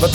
Wat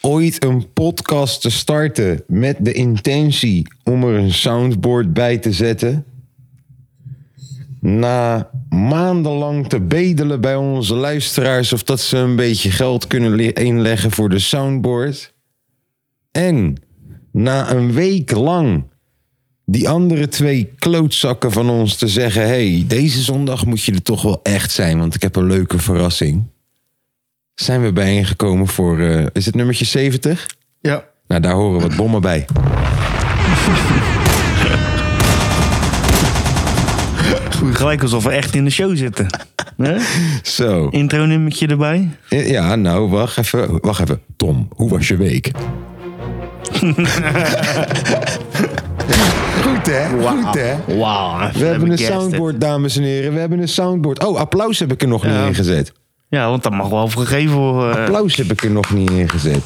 ooit een podcast te starten met de intentie om er een soundboard bij te zetten. Na maandenlang te bedelen bij onze luisteraars of dat ze een beetje geld kunnen le- inleggen voor de soundboard. En na een week lang die andere twee klootzakken van ons te zeggen: hey, deze zondag moet je er toch wel echt zijn, want ik heb een leuke verrassing zijn we bijeengekomen voor, eh, is het nummertje 70? Ja. Nou, daar horen wat bommen bij. Goed, gelijk alsof we echt in de show zitten. Hè? Zo. Intro nummertje erbij. Ja, nou, wacht even. Wacht even. Tom, hoe was je week? Goed, hè? Goed, hè? Wauw. We hebben een soundboard, dames en heren. We hebben een soundboard. Oh, applaus heb ik er nog niet Ja. in gezet. Ja, want dat mag wel gegeven worden. eh. Applaus heb ik er nog niet in gezet.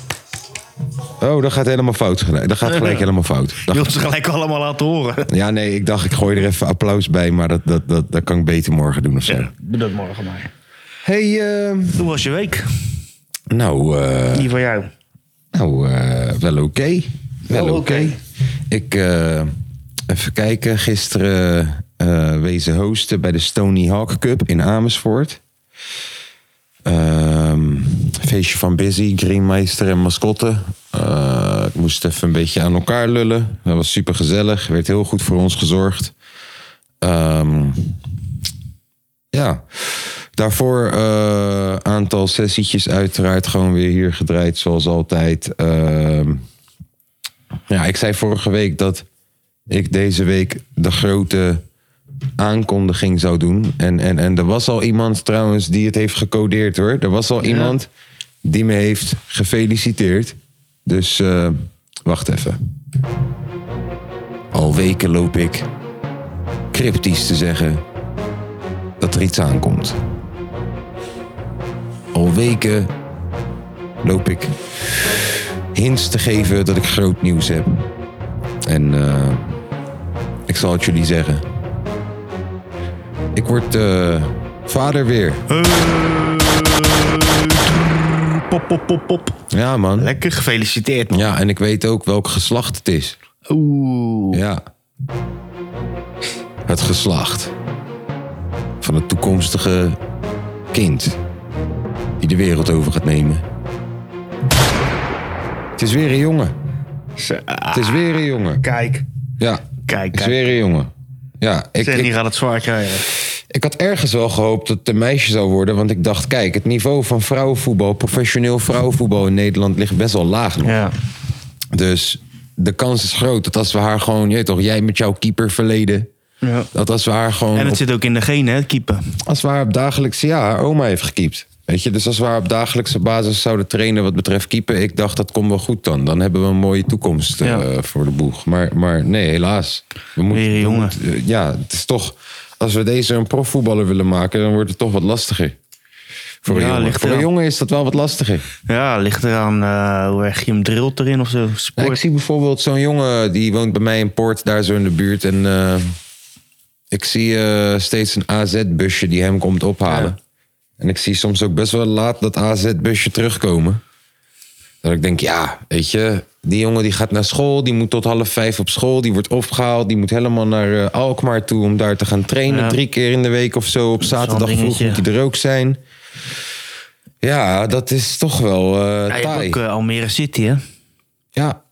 Oh, dat gaat helemaal fout. gelijk. Dat gaat gelijk helemaal fout. Je Dat- wilt ze gelijk allemaal laten horen. Ja, nee, ik dacht, ik gooi er even applaus bij. Maar dat, dat, dat, dat kan ik beter morgen doen of zo. Doe dat morgen maar. Hey, eh, Hoe was je week? nou, eh, Die van jou. nou eh, wel oké. Wel Wel oké. oké. Ik, eh, even kijken, gisteren eh, wezen hosten bij de Stony Hawk Cup in Amersfoort. Ehm, feestje van Busy, Greenmeister en Mascotte. Eh, ik moest even een beetje aan elkaar lullen. Dat was super gezellig. Werd heel goed voor ons gezorgd. Ehm, ja, daarvoor eh aantal sessietjes uiteraard gewoon weer hier gedraaid zoals altijd. Ehm, ja, ik zei vorige week dat ik deze week de grote aankondiging zou doen. En, en, en er was al iemand trouwens die het heeft gecodeerd hoor. Er was al iemand die me heeft gefeliciteerd. Dus eh, wacht even. Al weken loop ik cryptisch te zeggen dat er iets aankomt. Al weken loop ik hints te geven dat ik groot nieuws heb. En eh, ik zal het jullie zeggen. Ik word eh, vader weer. Pop, pop, pop, pop. Ja, man. Lekker gefeliciteerd. man. Ja, en ik weet ook welk geslacht het is. Oeh. Ja. Het geslacht van het toekomstige kind die de wereld over gaat nemen. Het is weer een jongen. Zo, ah, Het is weer een jongen. Kijk, Ja, kijk, het is kijk. weer een jongen. Ja, ik, ik, Sandy gaat het zwaar krijgen. Ik had ergens wel gehoopt dat het een meisje zou worden. Want ik dacht, kijk, het niveau van vrouwenvoetbal, professioneel vrouwenvoetbal in Nederland ligt best wel laag nog. Ja. Dus de kans is groot dat als we haar gewoon, je weet toch, jij met jouw keeper verleden. ja. Dat als we haar gewoon. En het op- zit ook in de genen, hè, het keeper. als we haar op dagelijkse. Ja, haar oma heeft gekiept. Weet je, dus als we haar op dagelijkse basis zouden trainen wat betreft keeper. Ik dacht, dat komt wel goed dan. Dan hebben we een mooie toekomst eh, Ja. voor de boeg. Maar, maar nee, helaas. We moeten, Weer een we jongen. moeten- eh, ja, het is toch. Als we deze een profvoetballer willen maken, dan wordt het toch wat lastiger. Voor een, Ja, jongen. ligt Voor een eraan. jongen is dat wel wat lastiger. Ja, ligt eraan eh, hoe erg je hem drilt erin of zo. Ja, ik Sport. zie bijvoorbeeld zo'n jongen, die woont bij mij in Poort, daar zo in de buurt. En eh, ik zie eh, steeds een AZ-busje die hem komt ophalen. En ik zie soms ook best wel laat dat AZ-busje terugkomen. Dat ik denk, ja, weet je, die jongen die gaat naar school, die moet tot half vijf op school, die wordt opgehaald, die moet helemaal naar eh, Alkmaar toe om daar te gaan trainen. Ja. Drie keer in de week of zo, op wel een zaterdag vroeg dingetje. moet hij er ook zijn. Ja, dat is toch wel eh Ja, je hebt taai. ook eh, Almere City, hè? Ja,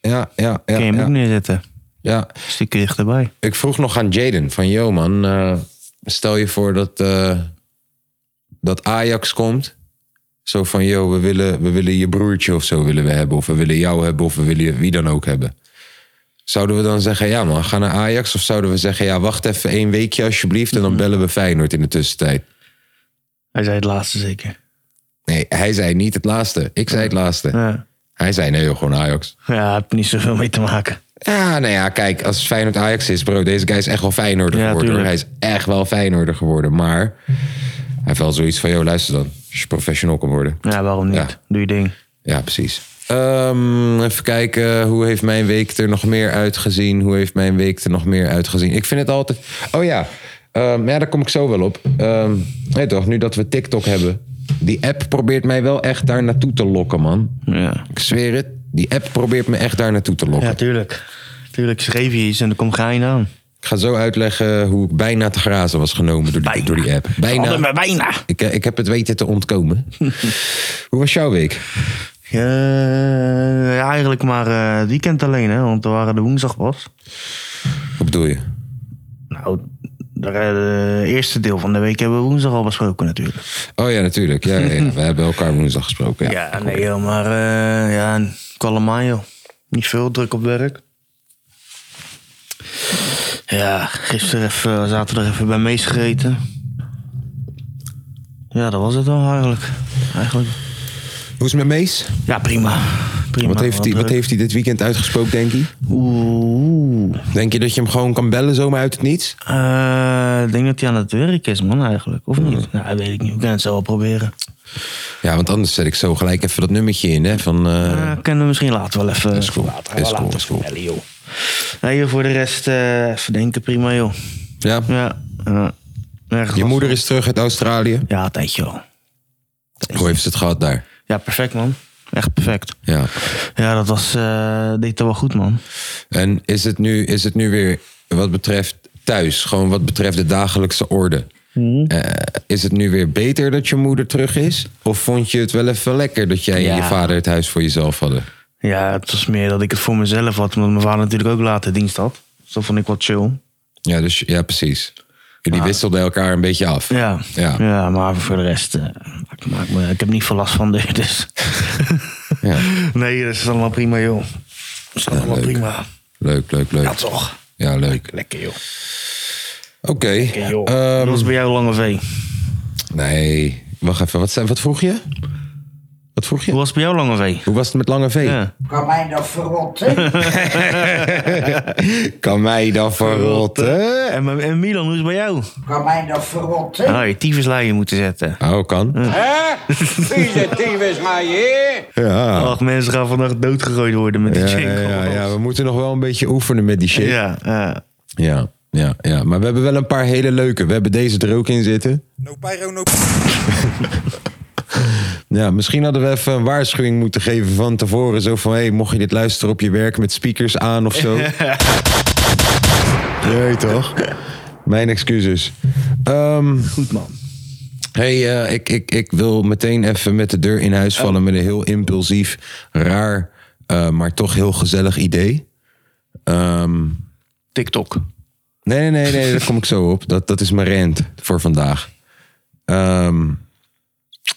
ja, ja. ja, Kun je hem ja, ook neerzetten. ja. Een stukje dichterbij. Ik vroeg nog aan Jaden van, yo man, eh, stel je voor dat, eh, dat Ajax komt. Zo van, yo, we willen, we willen je broertje of zo willen we hebben. Of we willen jou hebben, of we willen je- wie dan ook hebben. Zouden we dan zeggen, ja man, ga naar Ajax? Of zouden we zeggen, ja, wacht even één weekje alsjeblieft... en dan bellen we Feyenoord in de tussentijd? Hij zei het laatste zeker. Nee, hij zei niet het laatste. Ik zei het laatste. Ja. Hij zei nee, joh, gewoon Ajax. Ja, heb niet zoveel mee te maken. Ja, nou ja, kijk, als Feyenoord Ajax is, bro, deze guy is echt wel Feyenoorder Ja, geworden. hoor. Hij tuurlijk. is echt wel Feyenoorder geworden, maar hij heeft wel zoiets van, joh, luister dan, als je professional kan worden. Ja, waarom niet? Ja. Doe je ding. Ja, precies. Ehm, even kijken, hoe heeft mijn week er nog meer uitgezien? Hoe heeft mijn week er nog meer uitgezien? Ik vind het altijd... Oh ja, ehm, ja daar kom ik zo wel op. Ehm nee toch, nu dat we TikTok hebben. Die app probeert mij wel echt daar naartoe te lokken, man. Ja. Ik zweer het, die app probeert me echt daar naartoe te lokken. Ja, tuurlijk. Tuurlijk, schreef je iets en dan komt gein aan. Ik ga zo uitleggen hoe ik bijna te grazen was genomen door die, door die app. Altijd maar Bijna. bijna. Ik, eh, ik heb het weten te ontkomen. hoe was jouw week? Eh, ja, eigenlijk maar eh, het weekend alleen, hè, want we waren de woensdag pas. Wat bedoel je? Nou, de, eh, eerste deel van de week hebben we woensdag al besproken natuurlijk. Oh ja, natuurlijk. Ja, ja, ja. We hebben elkaar woensdag gesproken. Ja. Ja, nee joh, maar eh ja, kalm aan joh. Niet veel, druk op werk. Ja, gisteren even, eh, zaterdag even bij Mees gegeten. Ja, dat was het dan eigenlijk. eigenlijk. Hoe is het met Mees? Ja, prima. prima Wat heeft, hij, wat druk. heeft hij dit weekend uitgesproken, denk je? Oeh. Denk je dat je hem gewoon kan bellen zomaar uit het niets? Eh, ik denk dat hij aan het werk is, man, eigenlijk. Of niet? Mm. Nou, weet ik niet. We kunnen het zo wel proberen. Ja, want anders zet ik zo gelijk even dat nummertje in, hè? Van, eh, Eh kunnen we misschien later wel even... is cool, Later, is wel cool, later is cool. bellen, joh. Nee, joh, voor de rest eh even denken. Prima, joh. ja. Ja. ja. Nergens Je last moeder van. is terug uit Australië. Ja, een tijdje al. Hoe heeft ze het gehad daar? Ja, perfect, man. Echt perfect. Ja. Ja, dat was... eh deed dat wel goed, man. En is het, nu, is het nu weer wat betreft thuis, gewoon wat betreft de dagelijkse orde? eh, is het nu weer beter dat je moeder terug is? Of vond je het wel even lekker dat jij en Ja. je vader het huis voor jezelf hadden? Ja, het was meer dat ik het voor mezelf had. Omdat mijn vader natuurlijk ook later dienst had. Dus dat vond ik wat chill. Ja, dus, ja precies. Jullie wisselden elkaar een beetje af. Ja, Ja. ja. maar voor de rest, eh, maakt- maakt me, ik heb niet veel last van dit. Dus. Ja. Nee, dat is allemaal prima, joh. Dat is allemaal leuk. prima. Leuk, leuk, leuk. Ja, toch. Ja, leuk. Lekker, joh. Oké. Lekker, joh. ehm, dat was bij jou Lange V. nee, wacht even. Wat, zei- wat vroeg je? Wat vroeg Hoe je? was het bij jou Lange V? Hoe was het met Lange V? Ja. Kan mij dat verrotten? Kan mij dan verrotten? En, en Milan, hoe is het bij jou? Kan mij dat verrotten? Nou, je tyfuslijn moeten zetten. Oh, kan. Ja. Ach, mensen gaan vandaag doodgegooid worden met die Ah. Ja, jingle. ja, ja, ja, we moeten nog wel een beetje oefenen met die shit. Ja. Ja, ja. Ja, ja, Maar we hebben wel een paar hele leuke. We hebben deze er ook in zitten. No pyro, no Ja, misschien hadden we even een waarschuwing moeten geven van tevoren. Zo van, hé, hey, mocht je dit luisteren op je werk met speakers aan of zo. Nee, toch? Mijn excuses. Ehm, Goed, man. hey, eh, ik, ik, ik wil meteen even met de deur in huis Oh. vallen met een heel impulsief, raar, eh, maar toch heel gezellig idee. Ehm TikTok. Nee, nee, nee, nee, daar kom ik zo op. Dat, dat is mijn rent voor vandaag. Ehm,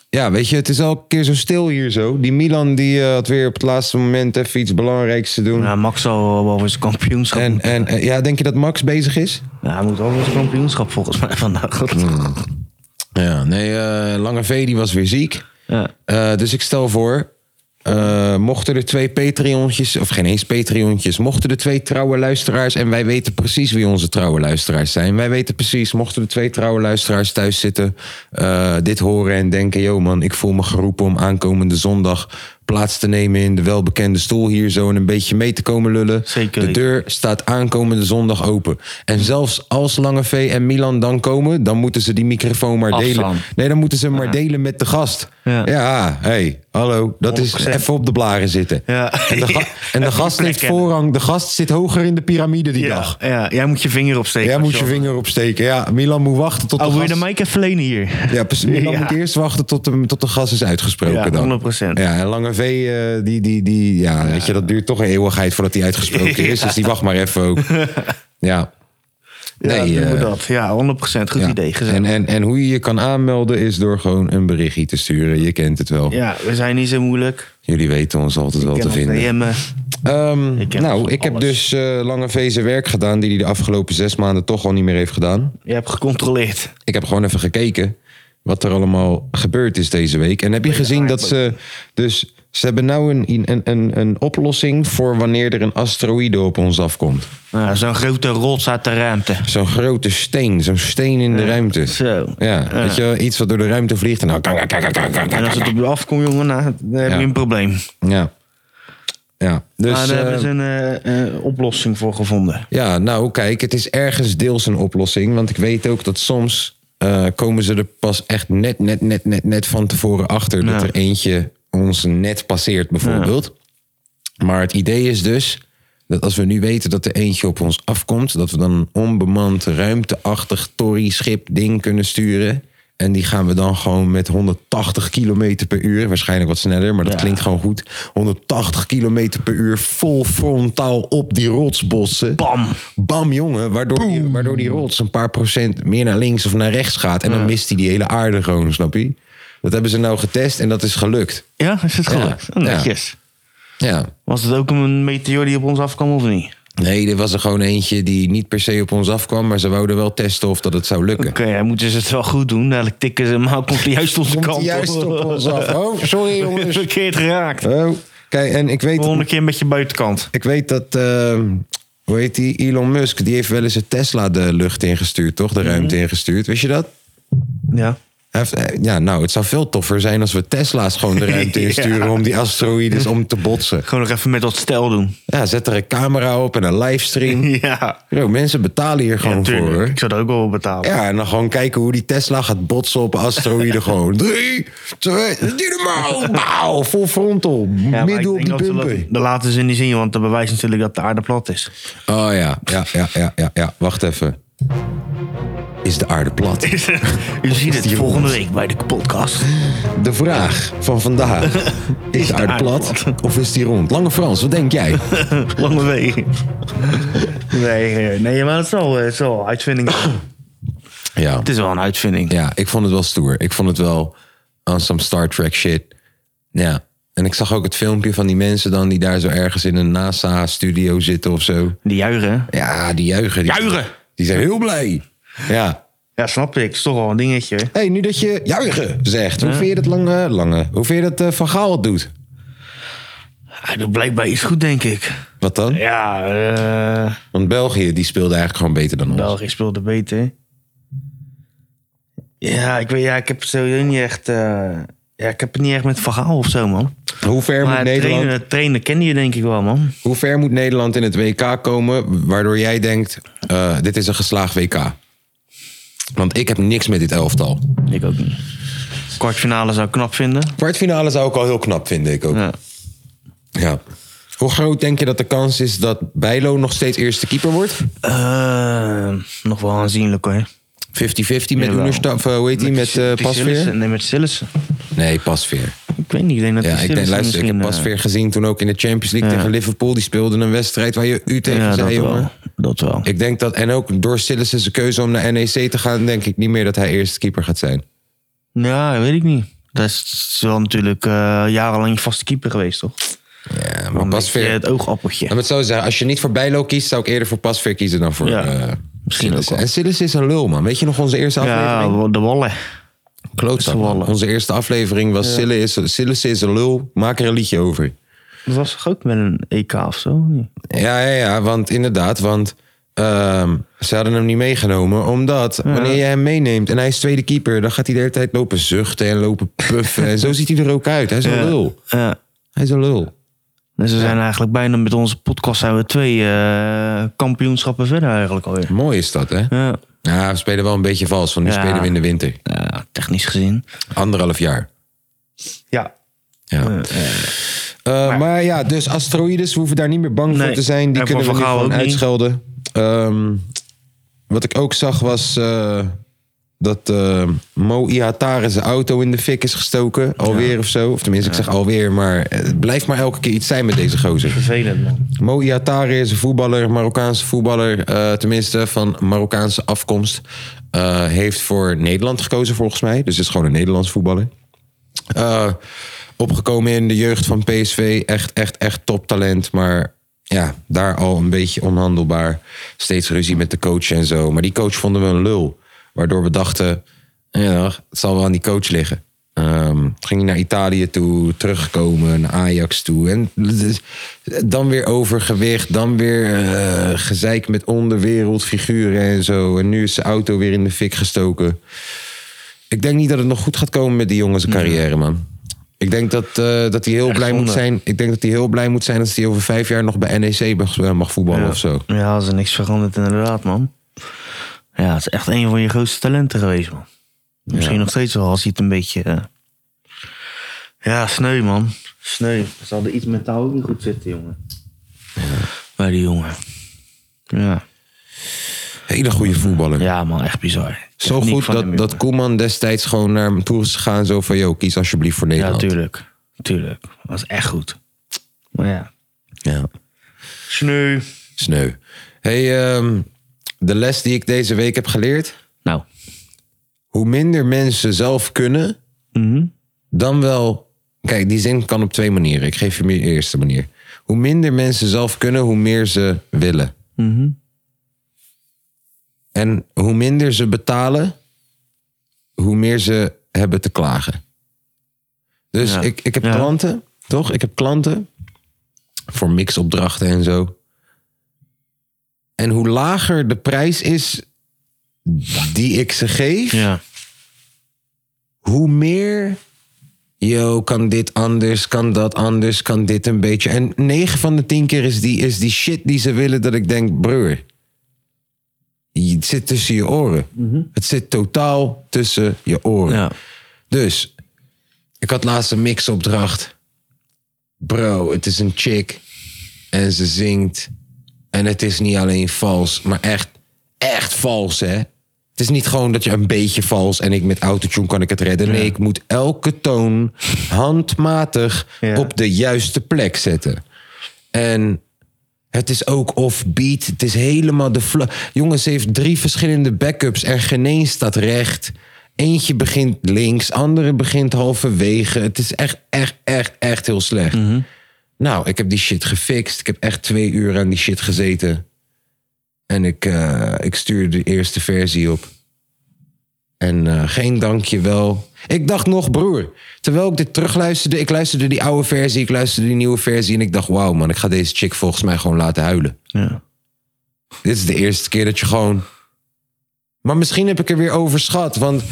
ja, weet je, het is al een keer zo stil hier zo. Die Milan die eh, had weer op het laatste moment even iets belangrijks te doen. Ja, Max zal wel voor zijn kampioenschap en, moeten. en eh, ja, denk je dat Max bezig is? Ja, hij moet wel voor zijn kampioenschap volgens mij vandaag. Ja, nee, eh, Lange V die was weer ziek. Ja. Eh, dus ik stel voor, eh, mochten er twee Patreontjes, of geen eens Patreontjes, mochten er twee trouwe luisteraars, en wij weten precies wie onze trouwe luisteraars zijn. Wij weten precies, mochten er twee trouwe luisteraars thuis zitten, eh, dit horen en denken, yo man, ik voel me geroepen om aankomende zondag plaats te nemen in de welbekende stoel hier zo en een beetje mee te komen lullen. Zeker De weten. deur staat aankomende zondag open. En zelfs als Lange V en Milan dan komen, dan moeten ze die microfoon maar delen. Afslaan. Nee, dan moeten ze hem maar delen met de gast. Ja. Ja, hé, hey, hallo. Dat is 100%. even op de blaren zitten. Ja. En de, ga- en de Even gast plek heeft kennen. voorrang. De gast zit hoger in de piramide die dag. Ja, ja, jij moet je vinger opsteken. Jij als moet je al- vinger opsteken. Ja, Milan moet wachten tot Oh, de wil je gast... de mic even lenen hier? Ja, precies. Milan Ja. moet eerst wachten tot de, tot de gast is uitgesproken Ja, dan. 100%. Ja, en Lange V, eh, die, die, die, ja, weet je, dat duurt toch een eeuwigheid voordat hij uitgesproken is. Dus die wacht maar even ook. Ja. ja, doen we eh, dat. Ja, 100%. Goed ja. idee. Gezellig. En, en, en hoe je je kan aanmelden is door gewoon een berichtje te sturen. Je kent het wel. ja, we zijn niet zo moeilijk. Jullie weten ons altijd wel Je te kan ons vinden. DM'en. Ehm, Ik ken nou, van ik heb alles. dus eh, Lange V zijn werk gedaan... die hij de afgelopen zes maanden toch al niet meer heeft gedaan. Je hebt gecontroleerd. Ik heb gewoon even gekeken wat er allemaal gebeurd is deze week. En heb je gezien dat ze dus Ze hebben nou een, een, een, een oplossing voor wanneer er een asteroïde op ons afkomt. Nou, Zo'n grote rots uit de ruimte. Zo'n grote steen, zo'n steen in de ruimte. Zo. Ja, weet je, wel, iets wat door de ruimte vliegt en dan... kak, kak, kak, kak, kak, En als kak, het kak. op je afkomt, jongen, nou, dan heb je Ja. een probleem. Ja. Ja, dus... maar Nou, daar hebben eh, ze een eh, eh, oplossing voor gevonden. Ja, nou kijk, het is ergens deels een oplossing. Want ik weet ook dat soms eh, komen ze er pas echt net, net, net, net, net van tevoren achter. Dat Ja. er eentje ons net passeert bijvoorbeeld. Maar het idee is dus dat als we nu weten dat er eentje op ons afkomt... dat we dan een onbemand ruimteachtig torrieschip ding kunnen sturen... En die gaan we dan gewoon met 180 km per uur, waarschijnlijk wat sneller, maar dat Ja. klinkt gewoon goed. 180 km per uur vol frontaal op die rotsbossen. Bam! Bam, jongen. Waardoor die, waardoor die rots een paar procent meer naar links of naar rechts gaat. En dan mist hij die hele aarde gewoon, snap je? Dat hebben ze nou getest en dat is gelukt. Ja, is het gelukt? Oh, Ja. Netjes. Ja. Was het ook een meteor die op ons afkwam of niet? Nee, er was er gewoon eentje die niet per se op ons afkwam. Maar ze wouden wel testen of dat het zou lukken. Oké, hij moeten ze het wel goed doen. Dadelijk tikken ze hem, maar komt hij juist onze Komt kant hij juist op. op ons af. Oh, sorry jongens. Verkeerd geraakt. Oh, kijk, en ik weet... Volgende keer met je buitenkant. Ik weet dat, eh, hoe heet die, Elon Musk, die heeft wel eens een Tesla de lucht ingestuurd, toch? De Mhm. ruimte ingestuurd, wist je dat? Ja. Hij heeft- eh, Ja, nou, het zou veel toffer zijn als we Tesla's gewoon de ruimte Ja. insturen om die asteroïdes om te botsen. Gewoon nog even met dat stel doen. Ja, zet er een camera op en een livestream. Ja. Yo, mensen betalen hier gewoon Ja, voor. tuurlijk. hoor. Ik zou dat ook wel betalen. Ja, en dan gewoon kijken hoe die Tesla gaat botsen op asteroïden. gewoon drie, twee, die normaal. Bauw, vol frontal. Ja, maar ik midden op denk die dat ze bumper. dat- Dat laten ze niet zien, want dat bewijst natuurlijk dat de aarde plat is. Oh ja, ja, ja, ja, ja, ja. Wacht even. Is de aarde plat? U ziet het die volgende rond? week bij de podcast. De vraag van vandaag. Is, de aarde plat, of is die rond? Lange Frans, wat denk jij? Lange week. Nee, eh, nee, maar het is wel, eh, het is wel een uitvinding. Ja. Het is wel een uitvinding. ja, ik vond het wel stoer. Ik vond het wel aan some Star Trek shit. Ja. En ik zag ook het filmpje van die mensen dan die daar zo ergens in een NASA-studio zitten of zo. Die juichen. hè? Ja, die juichen. Die, Juichen! Die zijn heel blij. Ja. Ja, snap ik. Het is toch wel een dingetje. hè? Hé, hey, nu dat je juichen zegt, hoe vind je dat lange, lange? Hoe vind je dat eh, Van Gaal het doet? Hij doet blijkbaar iets goed, denk ik. Wat dan? Ja, eh Want België die speelde eigenlijk gewoon beter dan ons. België speelde beter. Ja, ik weet, ja, ik heb het sowieso niet echt. eh, ja, ik heb het niet echt met verhaal of zo, man. Hoe ver, moet Maar Nederland, trainen, trainen ken je denk ik wel, man. hoe ver moet Nederland in het WK komen waardoor jij denkt, eh, dit is een geslaagd WK? Want ik heb niks met dit elftal. Ik ook niet. Kwartfinale zou ik knap vinden. Kwartfinale zou ik al heel knap vinden, ik ook. Ja. Ja. Hoe groot denk je dat de kans is dat Bijlo nog steeds eerste keeper wordt? 50-50 Eh, nog wel aanzienlijk hoor. met Jawel. Unersta- of eh, hoe heet die, met eh, Die Sillissen- Pasveer? Nee, met Sillissen. Nee, Pasveer. Ik weet niet, ik denk dat Ja, ik die denk, Sillissen luister, ik heb misschien, eh, Pasveer gezien toen ook in de Champions League tegen Liverpool. Die speelden een wedstrijd waar je u tegen ja, dat zei, jongen. wel. Dat wel. Ik denk dat, en ook door Sillissen zijn keuze om naar NEC te gaan, denk ik niet meer dat hij eerste keeper gaat zijn. Ja, weet ik niet. Dat is wel natuurlijk eh, jarenlang je vaste keeper geweest, toch? Ja, Dan maar weet je Pasveer. Het oogappeltje. Laat me het zo zeggen, als je niet voor Bijlo kiest, zou ik eerder voor Pasveer kiezen dan voor. Ja, eh, misschien ook Sillissen. wel. En Sillissen is een lul, man. Weet je nog onze eerste Ja, aflevering? de wallen. Klootzak. is man. wallen. Onze eerste aflevering was Sillissen is, Sillissen is een lul, maak er een liedje over. Dat was toch ook met een EK of zo? of niet? Ja, ja, ja, want inderdaad, want ehm, ze hadden hem niet meegenomen. Omdat wanneer je hem meeneemt en hij is tweede keeper, dan gaat hij de hele tijd lopen zuchten en lopen puffen. en zo ziet hij er ook uit. Hij is een lul. Ja. Hij is een lul. Dus we zijn eigenlijk bijna met onze podcast zijn we twee eh, kampioenschappen verder eigenlijk alweer. Mooi is dat, hè? Ja. Ja, we spelen wel een beetje vals, want nu Ja. spelen we in de winter. Ja, technisch gezien. Anderhalf jaar. Ja. Ja. Eh, maar, ja, dus asteroïdes, we hoeven daar niet meer bang voor Nee. te zijn. Die En kunnen we voor nu Van Gaal gewoon ook niet. uitschelden. Ehm, wat ik ook zag was eh, dat eh, Mo Ihatare zijn auto in de fik is gestoken. Alweer of zo. Of tenminste, ik zeg alweer, maar het blijft maar elke keer iets zijn met deze gozer. Vervelend, man. Mo Iatare is een voetballer, Marokkaanse voetballer, eh, tenminste van Marokkaanse afkomst. Eh, heeft voor Nederland gekozen volgens mij, dus is gewoon een Nederlands voetballer. Eh, opgekomen in de jeugd van PSV, echt, echt, echt toptalent, maar ja, daar al een beetje onhandelbaar. Steeds ruzie met de coach en zo, maar die coach vonden we een lul. Waardoor we dachten, ja, het zal wel aan die coach liggen. Ehm, ging naar Italië toe, teruggekomen, naar Ajax toe. En dus dan weer overgewicht, dan weer eh, gezeik met onderwereldfiguren en zo. En nu is zijn auto weer in de fik gestoken. Ik denk niet dat het nog goed gaat komen met die jongen zijn carrière, man. Ik denk dat, eh, dat hij heel Echt blij moet zonde. zijn. Ik denk dat hij heel blij moet zijn als hij over vijf jaar nog bij E NEC mag, mag voetballen ja. of zo. Ja, als er niks verandert inderdaad, man. Ja, het is echt een van je grootste talenten geweest, man. Misschien nog steeds wel, als hij het een beetje... eh, Ja, sneu, man. Sneu. Ze hadden iets mentaal ook niet goed zitten, jongen. Bij die jongen. Ja. Hele goede voetballer. ja, man, echt bizar. Zo Techniek goed van hem, dat, dat jongen. Koeman destijds gewoon naar hem toe is gegaan. Zo van, joh, kies alsjeblieft voor Ja, Nederland. tuurlijk. Tuurlijk. Dat was echt goed. Maar ja. Ja. Sneu. Sneu. hey, ehm, de les die ik deze week heb geleerd. Nou. Hoe minder mensen zelf kunnen, Mhm. dan wel... Kijk, die zin kan op twee manieren. Ik geef je meer de eerste manier. Hoe minder mensen zelf kunnen, hoe meer ze willen. Mhm. En hoe minder ze betalen, hoe meer ze hebben te klagen. Dus Ja. ik, ik heb Ja. klanten, toch? Ik heb klanten voor mixopdrachten en zo. En hoe lager de prijs is die ik ze geef, Ja. hoe meer. Yo, kan dit anders, kan dat anders, kan dit een beetje. En 9 van de 10 keer is die, is die shit die ze willen dat ik denk, broer. je- Het zit tussen je oren. Het zit totaal tussen je oren. Ja. Dus, ik had laatst een mixopdracht. Bro, het is een chick. En ze zingt. En het is niet alleen vals, maar echt, echt vals, hè? Het is niet gewoon dat je een beetje vals en ik met autotune kan ik het redden. Nee, ik moet elke toon handmatig Ja. op de juiste plek zetten. En het is ook offbeat. Het is helemaal de flow. Jongens, ze heeft drie verschillende backups en geen één staat recht. Eentje begint links, andere begint halverwege. Het is echt, echt, echt, echt heel slecht. Nou, ik heb die shit gefixt. Ik heb echt twee uur aan die shit gezeten. En ik, eh, ik stuur de eerste versie op. En eh, geen dankje wel. Ik dacht nog, broer. Terwijl ik dit terugluisterde, ik luisterde die oude versie, ik luisterde die nieuwe versie. En ik dacht, wauw man, ik ga deze chick volgens mij gewoon laten huilen. Ja. Dit is de eerste keer dat je gewoon. Maar misschien heb ik er weer overschat. Want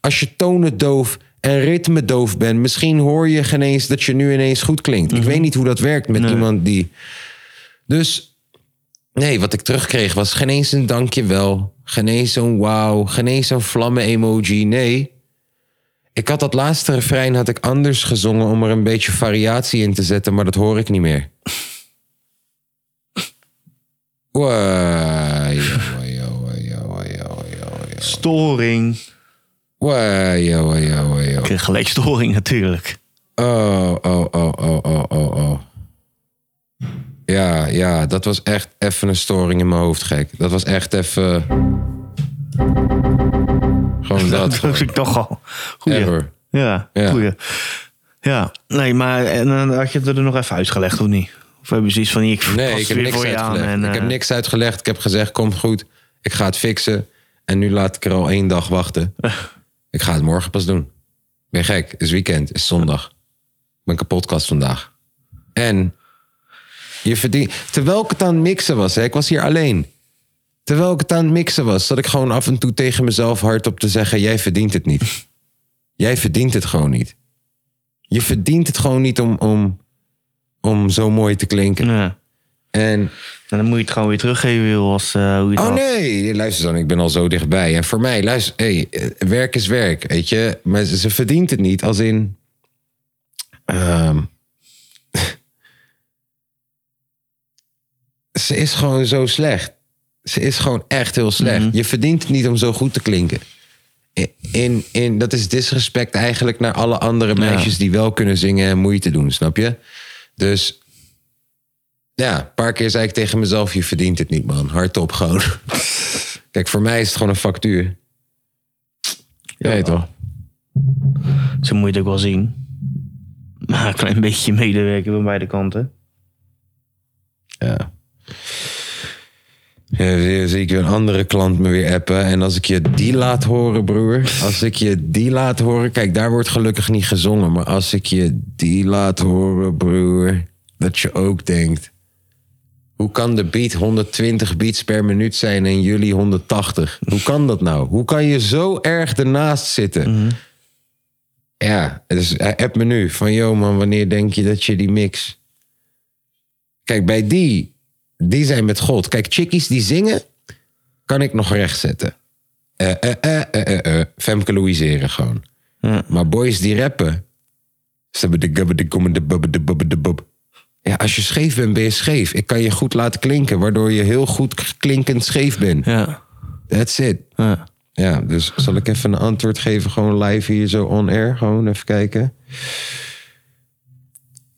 als je tonen doof en ritme doof bent, misschien hoor je geen eens dat je nu ineens goed klinkt. Ik weet niet hoe dat werkt met iemand die. Dus nee, wat ik terugkreeg was geen eens een dankjewel. Geen eens zo'n wauw. Geen eens zo'n vlammen-emoji. Nee. Ik had dat laatste refrein had ik anders gezongen om er een beetje variatie in te zetten, maar dat hoor ik niet meer. Wai, wai, wai, wai, wai, wai. Storing. Wai, wai, wai, wai. Ik kreeg gelijk storing natuurlijk. Oh, oh, oh, oh, oh, oh, oh. Ja, ja, dat was echt even een storing in mijn hoofd, gek. Dat was echt even... Gewoon dat. Dat was ik toch al. Goeie. Ever. Ja, Ja. goeie. Ja, nee, maar en, dan had je het er nog even uitgelegd of niet? Of hebben ze iets van, ik pas Nee, ik heb weer niks voor je aan. uitgelegd. En, ik heb eh, niks uitgelegd. Ik heb gezegd, komt goed. Ik ga het fixen. En nu laat ik er al één dag wachten. ik ga het morgen pas doen. Ben je gek? Het is weekend. Het is zondag. Mijn kapotkast vandaag. En je verdient... Terwijl ik het aan het mixen was, hè, ik was hier alleen. Terwijl ik het aan het mixen was, zat ik gewoon af en toe tegen mezelf hardop te zeggen... jij verdient het niet. jij verdient het gewoon niet. Je verdient het gewoon niet om, om, om zo mooi te klinken. Ja. En En dan moet je het gewoon weer teruggeven, joh, als eh, hoe je het Oh had. nee, luister dan, ik ben al zo dichtbij. En voor mij, luister, hey, eh, werk is werk, weet je. Maar ze, ze verdient het niet, als in... ehm, ze is gewoon zo slecht. Ze is gewoon echt heel slecht. Je verdient het niet om zo goed te klinken. In, in, in- dat is disrespect eigenlijk naar alle andere meisjes die wel kunnen zingen en moeite doen, snap je? Dus ja, een paar keer zei ik tegen mezelf: Je verdient het niet, man. Hardop gewoon. Kijk, voor mij is het gewoon een factuur. Ja, weet toch? Zo moet je het ook wel zien. Maar een klein beetje medewerken van beide kanten. Ja. Ja, zie- zie ik weer een andere klant me weer appen. En als ik je die laat horen, broer. Als ik je die laat horen. Kijk, daar wordt gelukkig niet gezongen. Maar als ik je die laat horen, broer. Dat je ook denkt. Hoe kan de beat 120 beats per minuut zijn en jullie 180? Hoe kan dat nou? Hoe kan je zo erg ernaast zitten? Ja, dus hij app me nu van, yo man, wanneer denk je dat je die mix... Kijk, bij die, die zijn met God. Kijk, chickies die zingen, kan ik nog recht zetten. Eh, eh, eh, eh, eh, eh. Femke Louiseren gewoon. Ja. Maar boys die rappen... ze hebben de gubbe, de gomme, de bubbe, de bubbe, de bub. Ja, als je scheef bent, ben je scheef. Ik kan je goed laten klinken, waardoor je heel goed k- klinkend scheef bent. Ja. That's it. ja. Ja, dus zal ik even een antwoord geven, gewoon live hier zo on air, gewoon even kijken.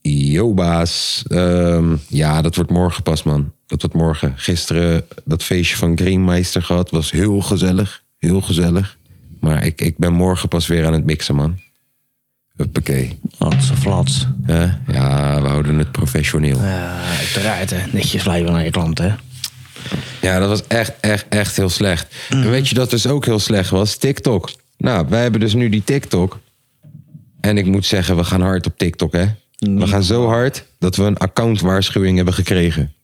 Yo, baas. Ehm, ja, dat wordt morgen pas, man. Dat wordt morgen. Gisteren dat feestje van Greenmeister gehad, was heel gezellig. Heel gezellig. Maar ik, ik ben morgen pas weer aan het mixen, man. Huppakee. Flats, flats. Hè? ja, we houden het professioneel. Ja, uiteraard hè. Netjes blijven naar je klant hè. Ja, dat was echt, echt, echt heel slecht. En weet je dat dus ook heel slecht was? TikTok. Nou, wij hebben dus nu die TikTok. En ik moet zeggen, we gaan hard op TikTok, hè? Mhm. We gaan zo hard dat we een accountwaarschuwing hebben gekregen.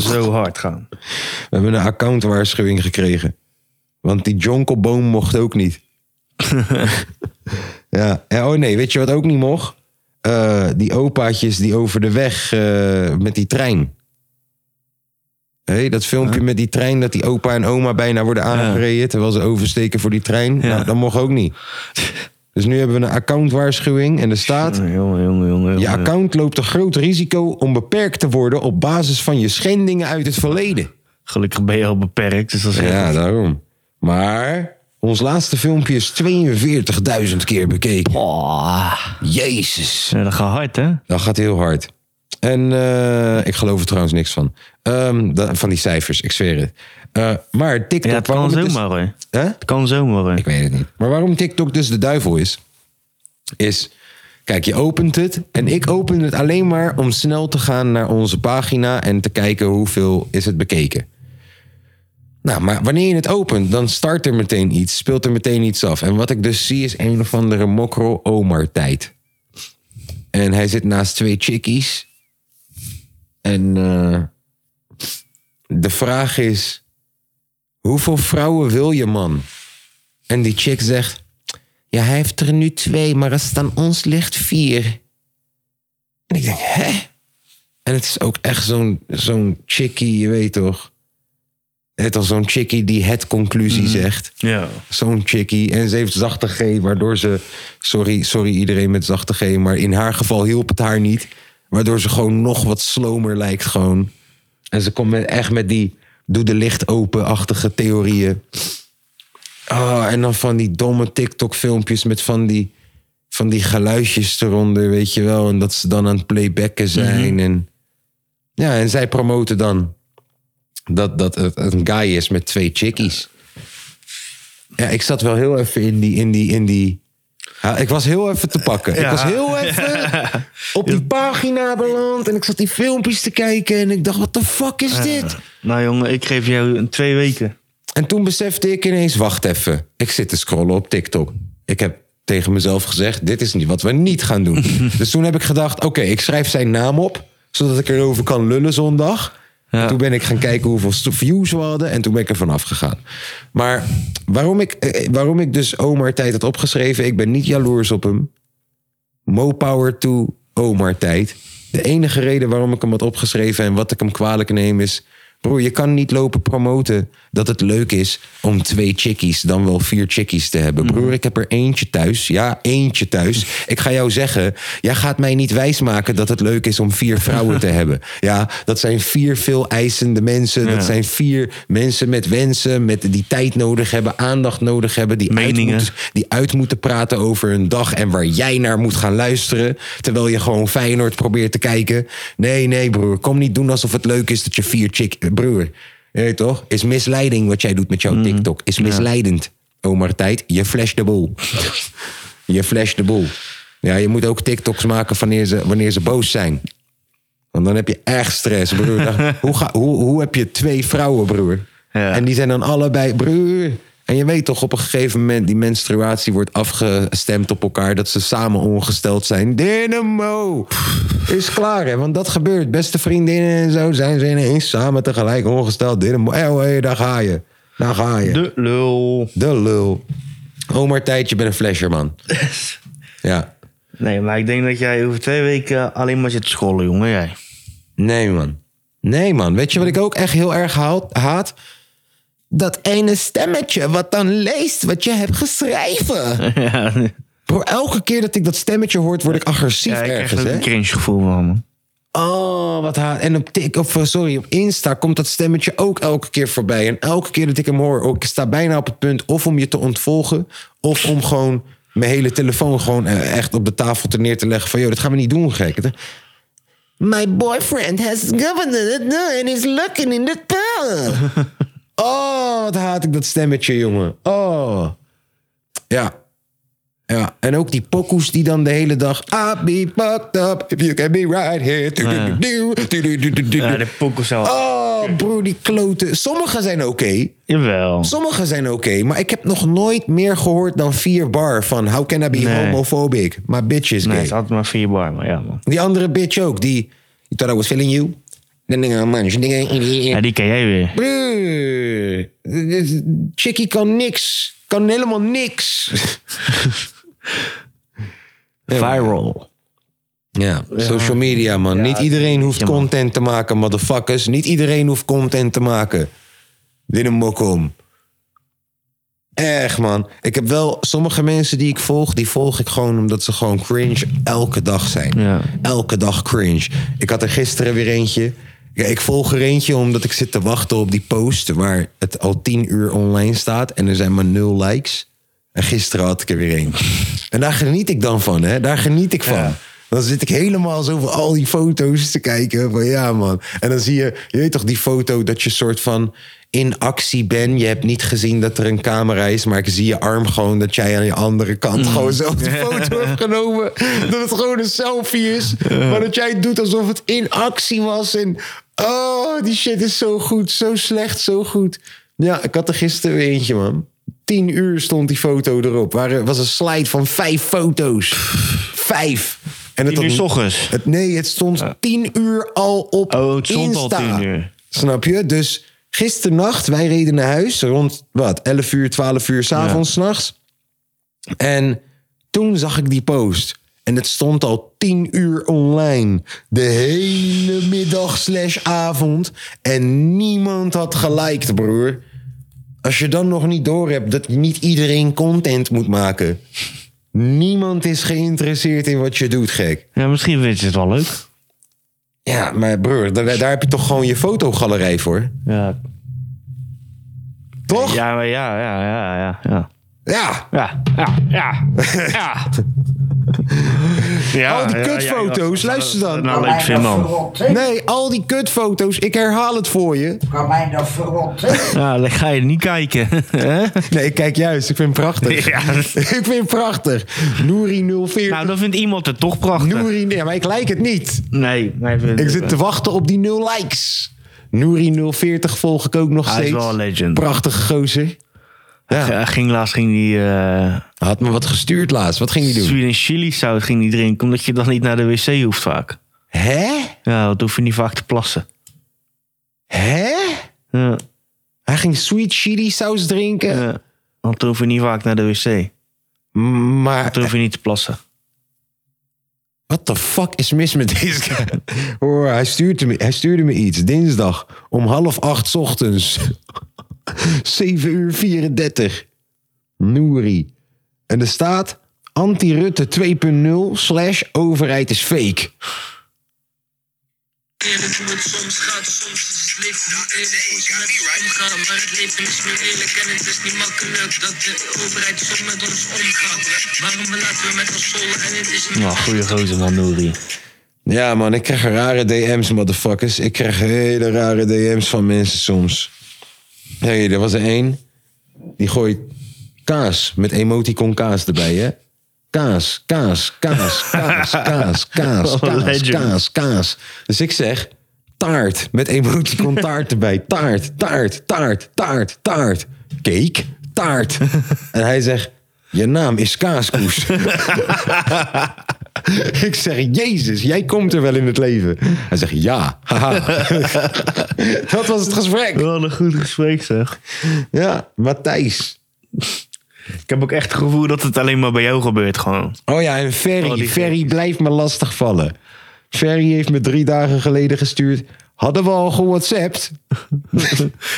Zo hard gaan. We hebben een accountwaarschuwing gekregen. Want die jonkelboom mocht ook niet. ja. ja, oh nee, weet je wat ook niet mocht? Eh, die opaatjes die over de weg eh, met die trein. Hé, dat filmpje met die trein dat die opa en oma bijna worden aangereden... terwijl ze oversteken voor die trein. Nou, dat mocht ook niet. Dus nu hebben we een accountwaarschuwing en er staat... Jongen, jongen, jongen. jongen, Je jongen. account loopt een groot risico om beperkt te worden... op basis van je schendingen uit het verleden. Gelukkig ben je al beperkt, dus dat is heel Ja, goed. daarom. Maar ons laatste filmpje is 42.000 keer bekeken. Oh, Jezus. ja, dat gaat hard hè. Dat gaat heel hard. En eh, ik geloof er trouwens niks van. Ehm, da- van die cijfers, ik zweer het. Eh, maar TikTok... Ja, het waarom kan is- zomaar hoor. Hè? Het kan zomaar hoor. Ik weet het niet. Maar waarom TikTok dus de duivel is, is. Kijk, je opent het. En ik open het alleen maar om snel te gaan naar onze pagina en te kijken hoeveel is het bekeken. Nou, maar wanneer je het opent, dan start er meteen iets, speelt er meteen iets af. En wat ik dus zie is een of andere mokro Omar tijd. En hij zit naast twee chickies. En eh, de vraag is, hoeveel vrouwen wil je man? En die chick zegt: Ja, hij heeft er nu twee, maar als het aan ons ligt, vier. En ik denk: Hè? En het is ook echt zo'n zo'n chickie, je weet toch? Het als zo'n chickie die het conclusie zegt. Ja. Zo'n chickie. En ze heeft zachte G, waardoor ze. Sorry, sorry iedereen met zachte G, maar in haar geval hielp het haar niet. Waardoor ze gewoon nog wat slomer lijkt, gewoon. En ze komt met, echt met die. Doe de licht open-achtige theorieën. Ah, en dan van die domme TikTok-filmpjes met van die, van die geluidjes eronder, weet je wel. En dat ze dan aan het playbacken zijn. en, ja, en zij promoten dan dat, dat het een guy is met twee chickies. Ja, ik zat wel heel even in die... In die, in die ja, ik was heel even te pakken. Ik Ja. was heel even op die pagina beland. En ik zat die filmpjes te kijken. En ik dacht, wat de fuck is dit? Nou jongen, ik geef jou een twee weken. En toen besefte ik ineens, wacht even. Ik zit te scrollen op TikTok. Ik heb tegen mezelf gezegd, dit is niet wat we niet gaan doen. dus toen heb ik gedacht, oké, ik schrijf zijn naam op. Zodat ik erover kan lullen zondag. En toen ben ik gaan kijken hoeveel st- views we hadden. En toen ben ik er vanaf gegaan. Maar waarom ik, eh, waarom ik dus Omar tijd had opgeschreven. Ik ben niet jaloers op hem. Mo Power to Omar tijd. De enige reden waarom ik hem had opgeschreven en wat ik hem kwalijk neem is... Broer, je kan niet lopen promoten dat het leuk is om twee chickies, dan wel vier chickies te hebben. Mhm. Broer, ik heb er eentje thuis. Ja, eentje thuis. Ik ga jou zeggen, jij gaat mij niet wijsmaken dat het leuk is om vier vrouwen te hebben. Ja, dat zijn vier veel eisende mensen. Dat Ja. zijn vier mensen met wensen, met die tijd nodig hebben, aandacht nodig hebben, die uit Meningen. moeten- die uit moeten praten over hun dag en waar jij naar moet gaan luisteren. Terwijl je gewoon Feyenoord probeert te kijken. Nee, nee, broer. Kom niet doen alsof het leuk is dat je vier chick. eh, Broer, je weet toch? Is misleiding wat jij doet met jouw TikTok. Is misleidend. Omar Tijd, je flash de boel. je flash de boel. Ja, je moet ook TikToks maken wanneer ze, wanneer ze boos zijn. Want dan heb je echt stress, broer. Dan- hoe, ga, hoe, hoe heb je twee vrouwen, broer? Ja. En die zijn dan allebei, broer. En je weet toch, op een gegeven moment, die menstruatie wordt afgestemd op elkaar. Dat ze samen ongesteld zijn. Dynamo! Is klaar, hè? Want dat gebeurt. Beste vriendinnen en zo zijn ze ineens samen tegelijk ongesteld. Dynamo. Hé, hé, daar ga je. Daar ga je. De lul. De lul. Omar Tijdje, ben een flasher, man. ja. Nee, maar ik denk dat jij over twee weken alleen maar zit te scrollen, jongen. Jij. Nee, man. Nee, man. Weet je wat ik ook echt heel erg haal- haat? Dat ene stemmetje wat dan leest wat je hebt geschreven. Bro, elke keer dat ik dat stemmetje hoort, word ik agressief Ja, ik krijg ergens, er hè? een cringe gevoel van, man. Oh, wat haat. En op, tik, of, eh, sorry, op Insta komt dat stemmetje ook elke keer voorbij. En elke keer dat ik hem hoor, oh, ik sta bijna op het punt of om je te ontvolgen, of om gewoon mijn hele telefoon gewoon eh, echt op de tafel te neer te leggen. Van, joh, dat gaan we niet doen, gek. Dat- My boyfriend has governed and is looking in the town. oh, wat haat ik dat stemmetje, jongen. Oh. Ja, ja, en ook die pokoes die dan de hele dag... I'll be fucked up if you can be right here. Du- du- du- du- du- du- du- du- Ja, du. de pokkels wel. Oh, broer, die kloten. Sommige zijn oké. Jawel. Sommige zijn oké. maar ik heb nog nooit meer gehoord dan vier bar van... How can I be Nee. homophobic? My bitch is Nee, gay. het is altijd maar vier bar, maar ja, man. Die andere bitch ook, die... You thought I was feeling you? Dan denk ik, oh man, je denkt, Ja, die ken jij weer. Broer, dit- Chickie kan niks. Kan helemaal niks. Viral. Ja, social media, man. Niet iedereen hoeft content te maken, motherfuckers. Niet iedereen hoeft content te maken. Dit een mok om. Erg, man. Ik heb wel sommige mensen die ik volg, die volg ik gewoon omdat ze gewoon cringe elke dag zijn. Ja. Elke dag cringe. Ik had er gisteren weer eentje. Ja, ik volg er eentje omdat ik zit te wachten op die post waar het al tien uur online staat en er zijn maar nul likes. En gisteren had ik er weer een. En daar geniet ik dan van, hè? Daar geniet ik van. Dan zit ik helemaal zo voor al die foto's te kijken. Van ja, man. En dan zie je, je weet toch die foto dat je soort van in actie bent. Je hebt niet gezien dat er een camera is, maar ik zie je arm gewoon dat jij aan je andere kant Mm. gewoon zelf de foto hebt genomen. Dat het gewoon een selfie is. Maar dat jij het doet alsof het in actie was. En oh, die shit is zo goed, zo slecht, zo goed. Ja, ik had er gisteren weer eentje, man. Tien uur stond die foto erop. Er was een slide van vijf foto's. Vijf. En het Tien uur had- s ochtends. Het, nee, het stond tien uur al op Oh, het stond al Insta. tien uur. Snap je? Dus gisternacht, wij reden naar huis rond wat, 11 uur, 12 uur s'avonds, 's nachts. En toen zag ik die post. En het stond al tien uur online. De hele middag slash avond. En niemand had geliked, broer. Als je dan nog niet door hebt dat niet iedereen content moet maken. Niemand is geïnteresseerd in wat je doet, gek. Ja, misschien vind je het wel leuk. Ja, maar broer, daar, daar heb je toch gewoon je fotogalerij voor? Ja, Toch? ja, maar ja, ja, ja, ja, ja. Ja. Ja, ja, ja, ja. ja Al Oh, die ja, ja, kutfoto's, ja. luister dan. Nou, Kan leuk mij vind, dat man. verrotten? Nee, al die kutfoto's, ik herhaal het voor je. Kan mij dat verrotten? Ja, dan ga je niet kijken. hè? Nee, ik kijk juist, ik vind hem prachtig. Ja. ik vind hem prachtig. Nouri 04. nou, dan vindt iemand het toch prachtig. Nouri, nee, maar ik like het niet. Nee, hij vindt Ik het zit te wachten op die 0 likes. Nouri 040 volg ik ook nog Hij is steeds. wel een legend. Prachtige gozer. Ja, Ja. hij ging laatst ging die eh, Had me wat gestuurd laatst. Wat ging hij doen? Sweden chili saus ging die drinken, omdat je dan niet naar de wc hoeft vaak. Hè? Ja, dat hoef je niet vaak te plassen. Hè? Ja, Hij ging sweet chili saus drinken. ja. Want dan hoef je niet vaak naar de wc. Maar Dan hoef je niet te plassen. What the fuck is mis met deze guy? Hoor, hij stuurde, me, hij stuurde me iets. Dinsdag om half acht 's ochtends. 7 uur 34. Noeri. En er staat... Anti-Rutte 2.0 slash overheid is fake. Eerlijk hoe het soms gaat, soms is het leven niet eerlijk hoe ze met ons omgaan. Maar het leven is nu eerlijk en het is niet makkelijk dat de overheid soms met ons omgaat. Waarom laten we met ons zollen en het is niet Nou, goede gozer man, Nouri. Ja man, ik krijg rare DM's, motherfuckers. Ik krijg hele rare DM's van mensen soms. Hé, hey, er was er één. Die gooit kaas met emoticon kaas erbij, hè? Kaas, kaas, kaas, kaas, kaas, kaas, Wat een kaas, legend. kaas, kaas. Dus ik zeg taart met emoticon taart erbij. Taart, taart, taart, taart, taart. Cake, taart. En hij zegt, je naam is Kaaskoes. ik zeg, jezus, jij komt er wel in het leven. Hij zegt, ja. haha." Dat was het gesprek. Wel een goed gesprek zeg. Ja, Matthijs. Ik heb ook echt het gevoel dat het alleen maar bij jou gebeurt gewoon. Oh ja, en Ferry. Oh, die Ferry blijft me lastigvallen. Ferry heeft me drie dagen geleden gestuurd. Hadden we al gewhatsappt?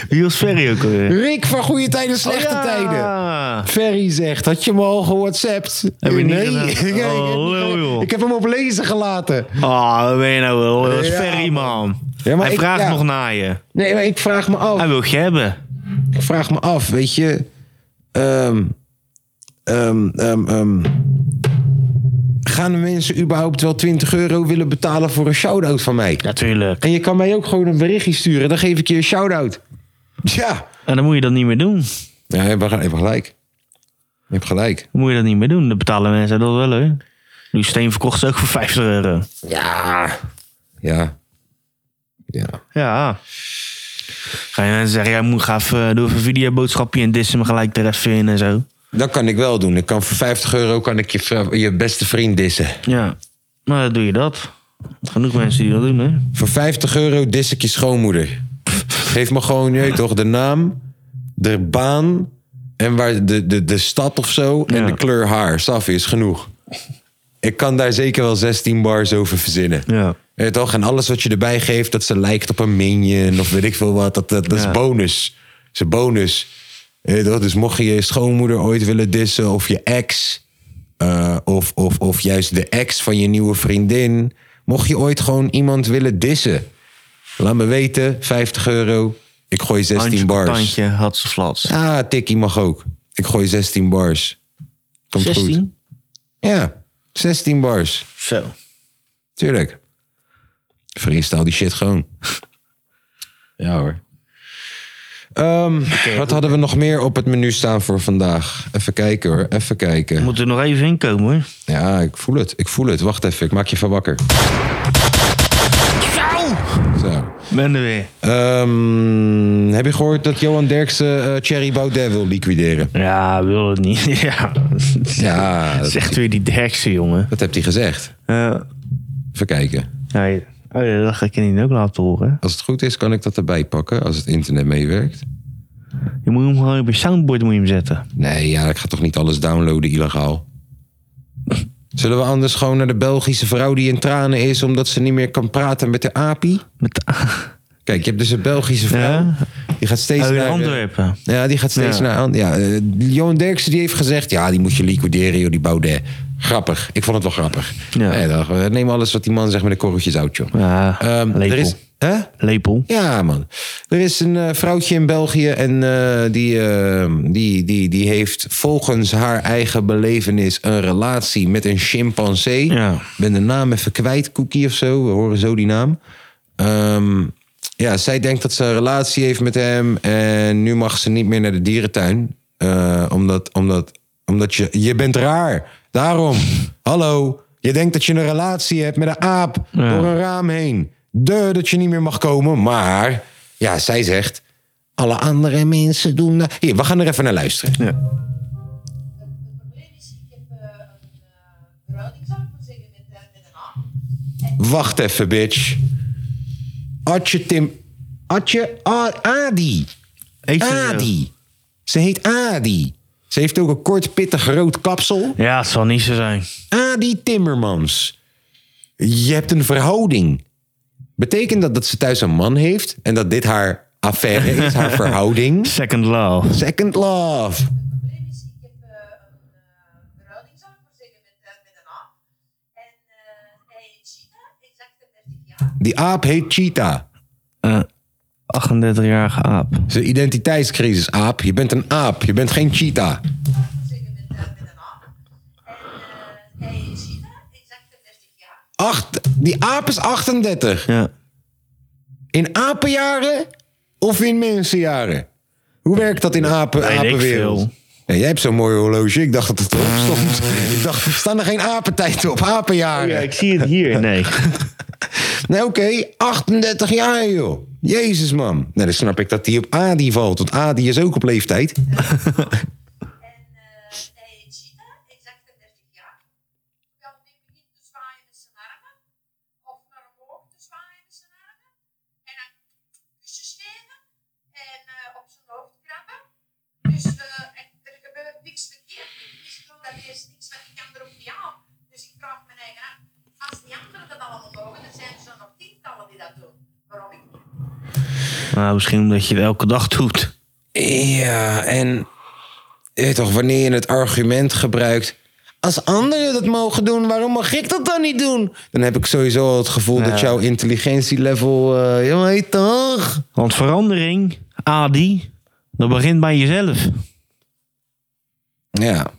Wie was Ferry ook alweer? Rick van goede tijden, slechte Oh ja! tijden. Ferry zegt, had je me al gewhatsappt? Heb je niet nee, gedaan? ik, heb niet Oh, gedaan. lul, joh. ik heb hem op lezen gelaten. Ah, wat ben je nou wel? Dat was Ja, Ferry man. Ja, maar Hij ik- vraagt ja. nog naar je. Nee, maar ik vraag me af. Hij wil je hebben. Ik vraag me af, weet je. ehm, ehm, ehm, ehm, gaan de mensen überhaupt wel 20 euro willen betalen voor een shout-out van mij? Natuurlijk. En je kan mij ook gewoon een berichtje sturen. Dan geef ik je een shout-out. Ja. En dan moet je dat niet meer doen. Ja, je hebt je hebt gelijk. Je hebt gelijk. Dan moet je dat niet meer doen. Dan betalen mensen dat wel hoor. Louis Steen verkocht ze ook voor 50 euro. Ja. Ja. Ja. Ja. Ga je mensen zeggen, jij moet ga even, doe even een videoboodschapje en dissen me gelijk de rest in en zo. Dat kan ik wel doen. Ik kan voor 50 euro kan ik je, vra- je beste vriend dissen. Ja. Maar Nou, dan doe je dat. Genoeg mensen die dat doen hè. Voor 50 euro dis ik je schoonmoeder. Geef me gewoon, je weet toch, de naam, de baan en waar de, de, de stad of zo en Ja. de kleur haar. Safi is genoeg. Ik kan daar zeker wel 16 bars over verzinnen. Ja. Je weet Eh, toch? En alles wat je erbij geeft, dat ze lijkt op een minion of weet ik veel wat, dat, dat, dat Ja. is bonus. Dat is een bonus. Je weet toch? Dus mocht je je schoonmoeder ooit willen dissen of je ex, eh, of, of, of juist de ex van je nieuwe vriendin, mocht je ooit gewoon iemand willen dissen, laat me weten, 50 euro, ik gooi 16 Handje op bars. tandje had ze flats. Ah, tikkie mag ook. Ik gooi 16 bars. Komt goed. Ja, 16 bars. Zo. Tuurlijk. Freestyle die shit gewoon. Ja hoor. Ehm, eh, wat hadden we nog meer op het menu staan voor vandaag? Even kijken hoor, even We kijken. moeten er nog even in komen hoor. Ja, ik voel het, ik voel het. Wacht even, ik maak je van wakker. Zo. Ben er weer. Ehm, heb je gehoord dat Johan Derksen eh Thierry Baudet wil liquideren? Ja, wil het niet. ja. Ja, dat, Zegt weer die derkse jongen. dat heeft hij gezegd. Eh, Even kijken. nee. Oh ja, dat ga ik je niet ook laten horen. Als het goed is, kan ik dat erbij pakken als het internet meewerkt. Je moet hem gewoon op je soundboard moet je hem zetten. Nee, ja, ik ga toch niet alles downloaden illegaal. Zullen we anders gewoon naar de Belgische vrouw die in tranen is omdat ze niet meer kan praten met de api? Met Kijk, je hebt dus een Belgische vrouw. Ja. Die gaat steeds oh, in naar de- Antwerpen. ja, die gaat steeds Ja. naar aan. Ja, eh, Johan Derksen die heeft gezegd: ja, die moet je liquideren, joh, die Baudet. Grappig. Ik vond het wel grappig. Ja. Nee, dag, eh, neem alles wat die man zegt met een korreltje zout, joh. Ja, Ehm, lepel. er is, hè? Lepel. Ja, man. Er is een eh, vrouwtje in België en eh, die, eh, die, die, die heeft volgens haar eigen belevenis een relatie met een chimpansee. Ja. Ik ben de naam even kwijt, Cookie of zo. We horen zo die naam. Ehm, ja, zij denkt dat ze een relatie heeft met hem en nu mag ze niet meer naar de dierentuin. Eh, omdat, omdat, omdat je, je bent raar. Daarom, hallo, je denkt dat je een relatie hebt met een aap Ja. door een raam heen. De dat je niet meer mag komen, maar ja, zij zegt, alle andere mensen doen dat. Hier, we gaan er even naar luisteren. probleem is, ik heb eh, een eh, verhoudingszaak, moet zeggen, met, eh, met een A. En Wacht even, bitch. Atje Tim, Atje A- Adi. Ah, Eet ze zo. Adi. Ze heet Adi. Ze heeft ook een kort, pittig rood kapsel. Ja, het zal niet zo zijn. Adi Timmermans. Je hebt een verhouding. Betekent dat dat ze thuis een man heeft en dat dit haar affaire is, haar verhouding? Second love. Second love. het probleem is, ik heb eh, een eh, verhoudingszaak, moet zeggen, met, eh, met een A. En eh, hij heet Chita, exact 30 jaar. Die aap heet Cheetah. Eh 38-jarige aap. Zijn identiteitscrisis, aap. Je bent een aap. Je bent geen cheetah. Moet zeggen, met, eh, met een A. En eh, hij heet Chita, exact 30 jaar. Acht, die aap is 38. Ja. In apenjaren of in mensenjaren? Hoe werkt dat in apen, Weet ik apenwereld? veel. Ja, jij hebt zo'n mooi horloge. Ik dacht dat het erop stond. Ik dacht, staan er geen apentijden op? Apenjaren. zie het hier. Nee. Nee, oké, 38 jaar, joh. Jezus, man. Nou, dan snap ik dat die op Adi valt. Want Adi is ook op leeftijd. En eh eh, Cheetah, exact 30 jaar. Wel neem ik niet te zwaaien met zijn armen. Of naar omhoog te zwaaien met zijn armen. En dan kusjes geven. En eh, op zijn hoofd krabben. Dus eh, en er gebeurt niks verkeerd. Ik doe dat eerst niks, want ik kan erop niet aan. Dus ik vraag mijn eigen af. Als die anderen dat allemaal mogen, dan zijn er zo nog tientallen die dat doen. Waarom ik niet? Nou, misschien omdat je het elke dag doet. Ja, en... Je weet toch, wanneer je het argument gebruikt... Als anderen dat mogen doen, waarom mag ik dat dan niet doen? Dan heb ik sowieso al het gevoel dat jouw intelligentielevel... eh je weet toch? Want verandering, Adi, dat begint bij jezelf. Ja.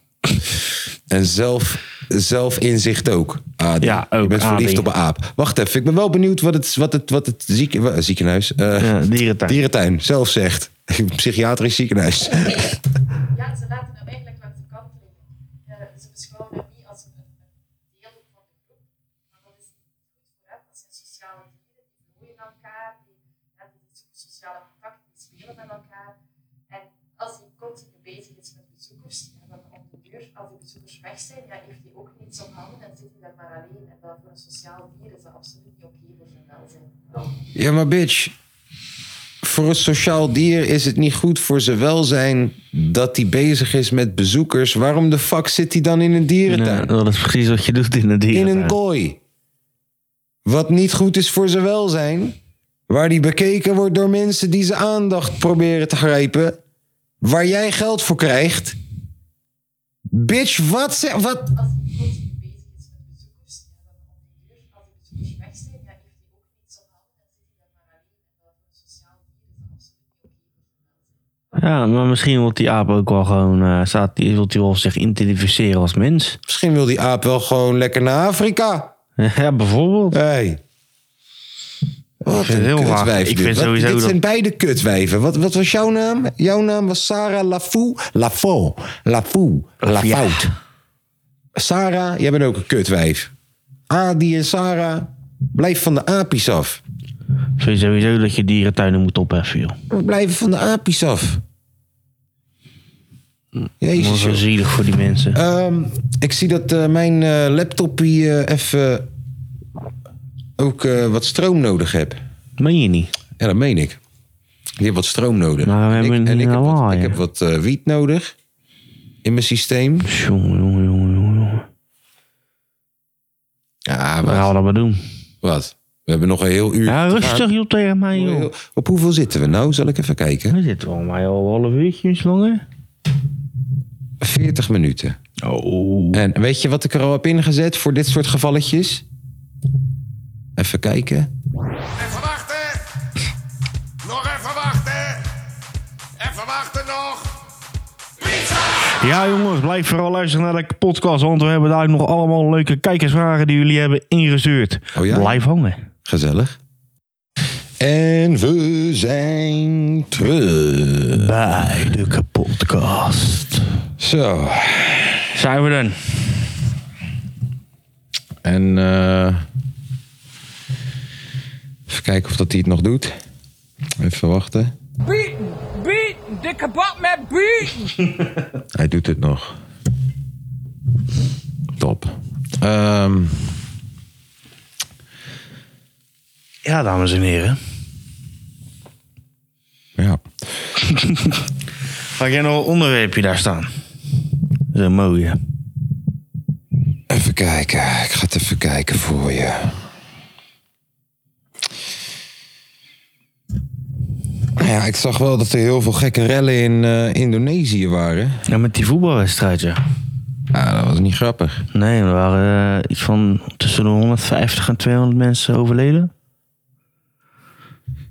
En zelf, zelfinzicht ook. Adi. Ja, ook, Je bent Adi. verliefd op een aap. Wacht even, ik ben wel benieuwd wat het, wat het, wat het zieke, wa- ziekenhuis... eh, Ja, dierentuin. dierentuin zelf zegt. Psychiatrisch ziekenhuis. Ja, ze laten hem eigenlijk langs de kant liggen. Eh, ze beschouwen hem niet als een een deel van de groep, maar dat is niet goed voor hem. Dat zijn sociale dieren, die groeien aan elkaar, die, ja, die zoeken sociale contact, die spelen met elkaar. En als hij continu bezig is met bezoekers, ja, dan op de deur, als die bezoekers weg zijn, ja, heeft hij ook niets op handen en zit hij daar maar alleen. En dat voor een sociaal dier is dat absoluut niet oké voor zijn welzijn. Ja, maar bitch. Voor een sociaal dier is het niet goed voor zijn welzijn... dat hij bezig is met bezoekers. Waarom de fuck zit hij dan in een dierentuin? Ja, dat is precies wat je doet in een in dierentuin. een kooi. Wat niet goed is voor zijn welzijn. Waar die bekeken wordt door mensen die zijn aandacht proberen te grijpen. Waar jij geld voor krijgt. Bitch, wat ze, wat? als hij continu bezig is met bezoekers, ja, dan op de deur, als de bezoekers weg zijn, ja, heeft hij ook niets op handen en zit hij daar maar alleen. En dat voor een sociaal dier is dat absoluut niet oké voor zijn welzijn. Ja, maar misschien wil die aap ook wel gewoon... eh, staat, die wil die wel zich identificeren als mens. Misschien wil die aap wel gewoon lekker naar Afrika. ja, bijvoorbeeld. Hey. Wat Ik vind een het heel laag. kutwijf. Ik dit. vind Wat- sowieso dit dat- zijn beide kutwijven. Wat, wat was jouw naam? Jouw naam was Sarah Lafou. Lafou. Lafou. Lafout. Sarah, jij bent ook een kutwijf. Adi en Sarah, blijf van de apies af. Ik vind sowieso dat je dierentuinen moet opheffen, joh. We blijven van de apies af. Dat Jezus, is zo joh. zielig voor die mensen. Ehm, ik zie dat eh, mijn eh, laptop hier eh, even ook eh, wat stroom nodig heeft. Meen je niet? Ja, dat meen ik. Die heeft wat stroom nodig. Maar we en hebben ik, en een ik heb wat, lawaai. ik heb wat eh, wiet nodig in mijn systeem. Jongen, jongen, jongen, jongen, jongen. Ja, Wat gaan wat? we dat maar doen? wat? We hebben nog een heel uur. Ja, te gaan. rustig joh tegen mij joh. Op hoeveel zitten we nou? Zal ik even kijken. We zitten al mij al een half uurtje iets langer. 40 minuten. Oh. En weet je wat ik er al heb ingezet voor dit soort gevalletjes? Even kijken. Even wachten. Nog even wachten. Even wachten nog. Ja jongens, blijf vooral luisteren naar de podcast, want we hebben daar nog allemaal leuke kijkersvragen die jullie hebben ingestuurd. Oh ja? Blijf hangen. Gezellig. En we zijn terug. Bij de podcast. Zo. Zijn we dan? En eh, even kijken of dat hij het nog doet. Even wachten. Beaten, beaten, dikke bak met beaten. Hij doet het nog. Top. Ehm, Ja, dames en heren. ja. Ga jij nog een onderwerpje daar staan? Zo mooi hè. Even kijken. Ik ga het even kijken voor je. Nou Ja, ik zag wel dat er heel veel gekke rellen in eh, Indonesië waren. Ja, met die voetbalwedstrijd ja. Ja, dat was niet grappig. Nee, er waren eh, iets van tussen de 150 en 200 mensen overleden.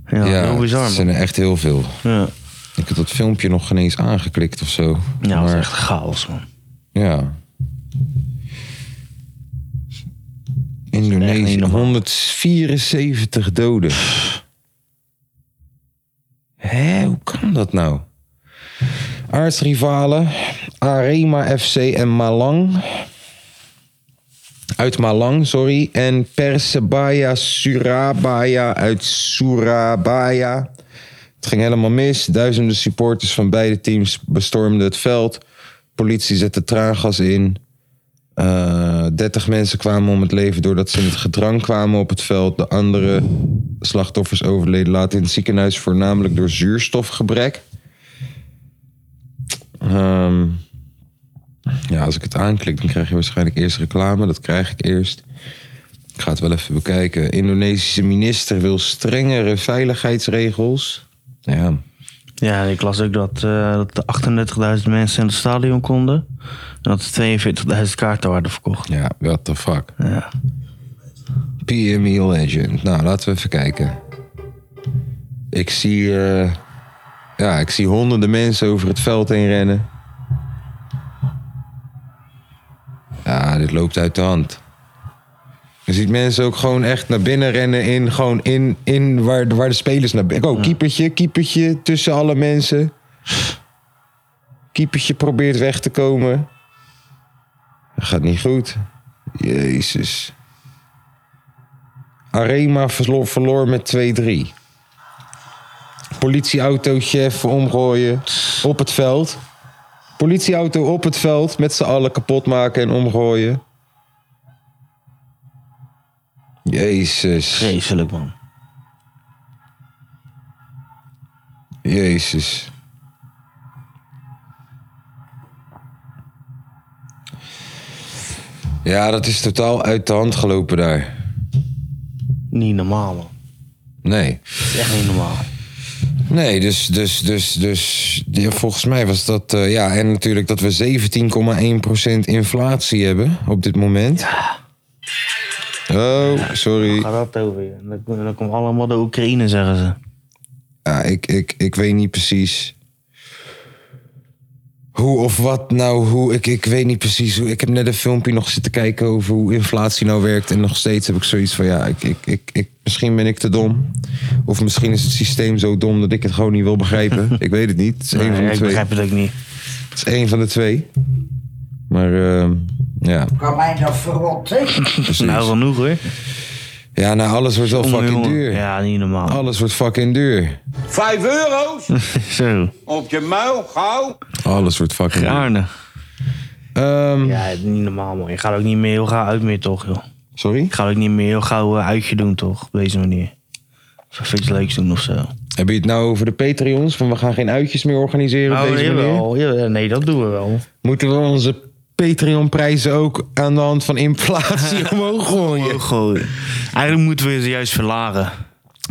Ja, heel bizar. het man. zijn er echt heel veel. Ja, Ik heb dat filmpje nog geen eens aangeklikt of zo. ja dat is Maar- echt chaos, man. Ja. echt niet Indonesië, normaal. 174 doden. Hé, hoe kan dat nou? Aardsrivalen Arema FC en Malang. Uit Malang, sorry. En Persebaya Surabaya uit Surabaya. Het ging helemaal mis. Duizenden supporters van beide teams bestormden het veld. Politie zette traangas in. Eh 30 mensen kwamen om het leven doordat ze in het gedrang kwamen op het veld. De andere slachtoffers overleden later in het ziekenhuis, voornamelijk door zuurstofgebrek. Ehm, ja, als ik het aanklik, dan krijg je waarschijnlijk eerst reclame. Dat krijg ik eerst. Ik ga het wel even bekijken. Indonesische minister wil strengere veiligheidsregels. Ja, Ja, ik las ook dat, eh, dat er 38.000 mensen in het stadion konden. En dat er 42.000 kaarten waren verkocht. ja, what the fuck. Ja. PME Legend. Nou, laten we even kijken. Ik zie, eh, ja, ik zie honderden mensen over het veld heen rennen. Ja, dit loopt uit de hand. Je ziet mensen ook gewoon echt naar binnen rennen in, gewoon in, in waar, de- waar de spelers naar binnen... Oh, keepertje, keepertje tussen alle mensen. Keepertje probeert weg te komen. Dat gaat niet goed. Jezus. Arema verloor, verloor met 2-3. Politieauto, chef, omgooien op het veld. Politieauto op het veld met z'n allen kapot maken en omgooien. Jezus, Vreselijk, man. Jezus. Ja, dat is totaal uit de hand gelopen daar. Niet normaal, man. Nee. Het is echt niet normaal. Nee, dus, dus, dus, dus ja, volgens mij was dat. eh, ja, en natuurlijk dat we 17,1% inflatie hebben op dit moment. Oh, sorry. Gaat dat over je? En dan, dan komt allemaal de Oekraïne, zeggen ze. Ja, ik, ik, ik weet niet precies. Hoe of wat nou, hoe, ik, ik weet niet precies hoe. Ik heb net een filmpje nog zitten kijken over hoe inflatie nou werkt. En nog steeds heb ik zoiets van: ja, ik, ik, ik, ik, misschien ben ik te dom. Of misschien is het systeem zo dom dat ik het gewoon niet wil begrijpen. Ik weet het niet. Het is één Nee, van de ik twee. begrijp het ook niet. Het is één van de twee. Maar ehm, ja, Kan mij dat verrotten? precies. Nou, genoeg hoor. ja, nou alles wordt wel Jongen, fucking jongen. duur. Oh. Ja, niet normaal. Alles wordt fucking duur. Vijf euro's? Zo, Op je muil, gauw. Alles wordt fucking duur. gaarne. Ehm, Ja, het is niet normaal, man. Je gaat ook niet meer heel gauw uit meer, toch, joh. sorry? Ik ga ook niet meer heel gauw eh, uitje doen, toch? Op deze manier. Of even iets leuks doen of zo. Heb je het nou over de Patreons? Van we gaan geen uitjes meer organiseren op deze manier? Oh, Nou, jawel, jawel. Nee, dat doen we wel. Moeten we onze Patreon-prijzen ook aan de hand van inflatie omhoog gooien? Goh, Eigenlijk moeten we ze juist verlagen.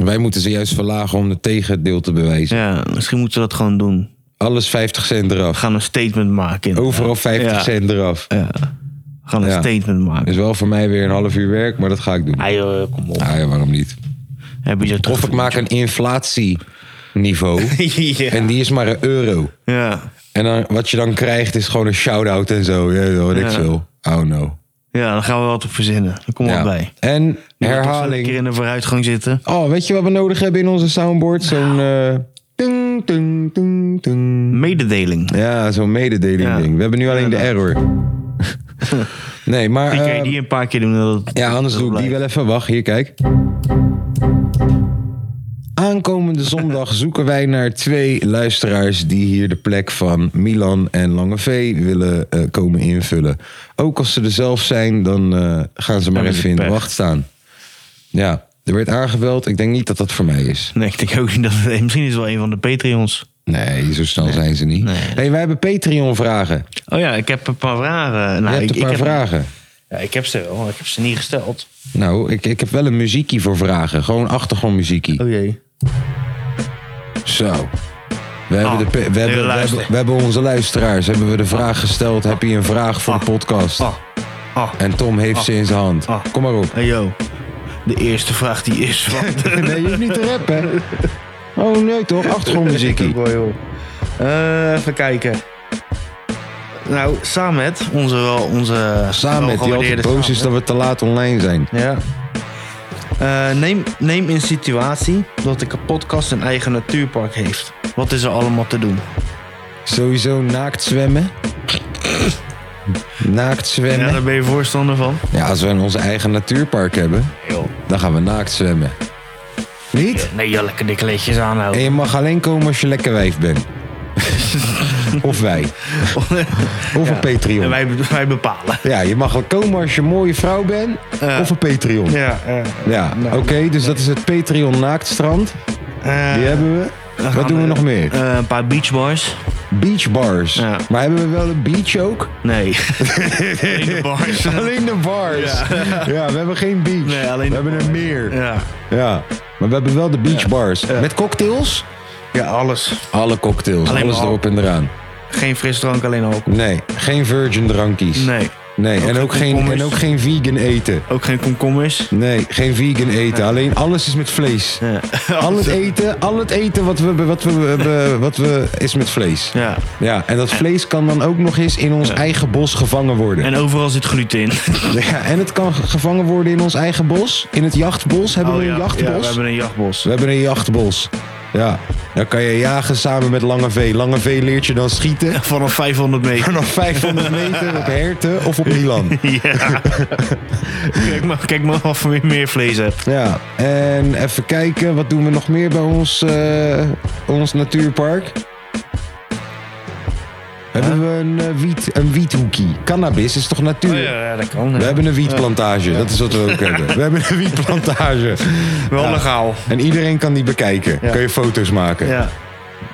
Wij moeten ze juist verlagen om het tegendeel te bewijzen. Ja, misschien moeten we dat gewoon doen. Alles 50 cent We eraf. gaan een statement maken. inderdaad. Overal 50 Ja, cent eraf. We gaan een Ja. statement maken. Is wel voor mij weer een half uur werk, maar dat ga ik doen. Ah, joh, kom op. Ah ja, waarom niet? Heb je zo terug... Of ik maak een inflatieniveau. ja. En die is maar een euro. ja. En dan, wat je dan krijgt is gewoon een shout-out en zo. Ja, dat weet ik Ja. veel. Oh no. Ja, dan gaan we wat op verzinnen. Dan kom Ja. op bij. En Een keer herhaling. in de vooruitgang zitten. Oh, weet je wat we nodig hebben in onze soundboard? Zo'n... eh, ting, ting, ting, ting. Mededeling. Ja, zo'n mededeling Ja. ding. We hebben nu alleen de error. nee, maar... Die kan je eh, die een paar keer doen. Dat het- Ja, anders dat doe ik die blijft. wel even. Wacht, hier, kijk. Aankomende zondag zoeken wij naar twee luisteraars die hier de plek van Milan en Lange V willen eh, komen invullen. Ook als ze er zelf zijn, dan eh, gaan ze maar Hebben ze even in de pech. wacht staan. Ja, er werd aangebeld. Ik denk niet dat dat voor mij is. Nee, ik denk ook niet dat het... eh, Misschien is het wel een van de Patreons. Nee, zo snel zijn ze niet. hey, wij hebben Patreon-vragen. Oh ja, ik heb een paar vragen. Nou, Je hebt ik, een paar ik heb, vragen. Ja, ik heb ze wel. Ik heb ze niet gesteld. Nou, ik, ik heb wel een muziekie voor vragen. Gewoon achtergrondmuziekie. Oh jee. Zo. We hebben, Ah, de, pe- we, hebben, we, luister. hebben, we hebben onze luisteraars. Hebben we de vraag gesteld: heb je een vraag voor de podcast? Ah. Ah. En Tom heeft ze in zijn hand. Ah. Kom maar op. Hey yo. De eerste vraag die is van... Nee, je hoeft niet te rappen. Oh nee, toch? Achtergrondmuziekie. wel, joh. Eh, even kijken. Nou, Samet, onze, wel- onze Samen met die altijd welgewaardeerde boos is dat Samet. we te laat online zijn. Ja. Eh, neem, neem in situatie dat de kapotkast een eigen natuurpark heeft. Wat is er allemaal te doen? Sowieso naakt zwemmen. Naakt Ja, zwemmen. daar ben je voorstander van. Ja, als we een ons eigen natuurpark hebben, dan gaan we naakt zwemmen. Niet? Nee, ja, lekker dikke leedjes aanhouden. En je mag alleen komen als je lekker wijf bent. of wij. Of een Patreon. En wij, wij bepalen. Ja, je mag wel komen als je een mooie vrouw bent. Of een Patreon. Ja, Ja, ja. oké. dus dat is het Patreon Naaktstrand. Die hebben we. Eh, Wat doen we nog meer? Eh, een paar beachbars. Beach bars. Ja. Maar hebben we wel een beach ook? Nee. Alleen de bars. Alleen de bars. Ja, we hebben geen beach. Nee, alleen we de hebben een meer. Ja. Ja. Maar we hebben wel de beach bars. Met cocktails? ja, alles. Alle cocktails. Alleen alles maar erop en eraan. Geen frisdrank, alleen alcohol. Nee, geen virgin drankies. Nee. Nee, Ook en geen ook, geen, en komkommers. ook geen vegan eten. Ook geen komkommers. Nee, geen vegan eten. Alleen alles is met vlees. Ja. Al het eten, al het eten wat we, wat we, we- wat we is met vlees. Ja. Ja, en dat vlees kan dan ook nog eens in ons eigen bos gevangen worden. En overal zit gluten in. Ja, en het kan ge- gevangen worden in ons eigen bos. In het jachtbos. Hebben we een Oh ja. jachtbos? Ja, we hebben een jachtbos. een jachtbos. Ja, dan kan je jagen samen met Lange V. Lange V leert je dan schieten. Vanaf 500 meter. Vanaf 500 meter op herten of op Milan. Ja. kijk, maar, kijk maar of we meer vlees hebt. Ja, en even kijken, wat doen we nog meer bij ons, eh, ons natuurpark? Hebben we een, eh, wiet, een wiethoekie? Cannabis is toch natuur? Oh dat kan. We hebben een wietplantage, dat is wat we ook hebben. We hebben een wietplantage. Wel legaal. En iedereen kan die bekijken. Kun je foto's maken. Ja.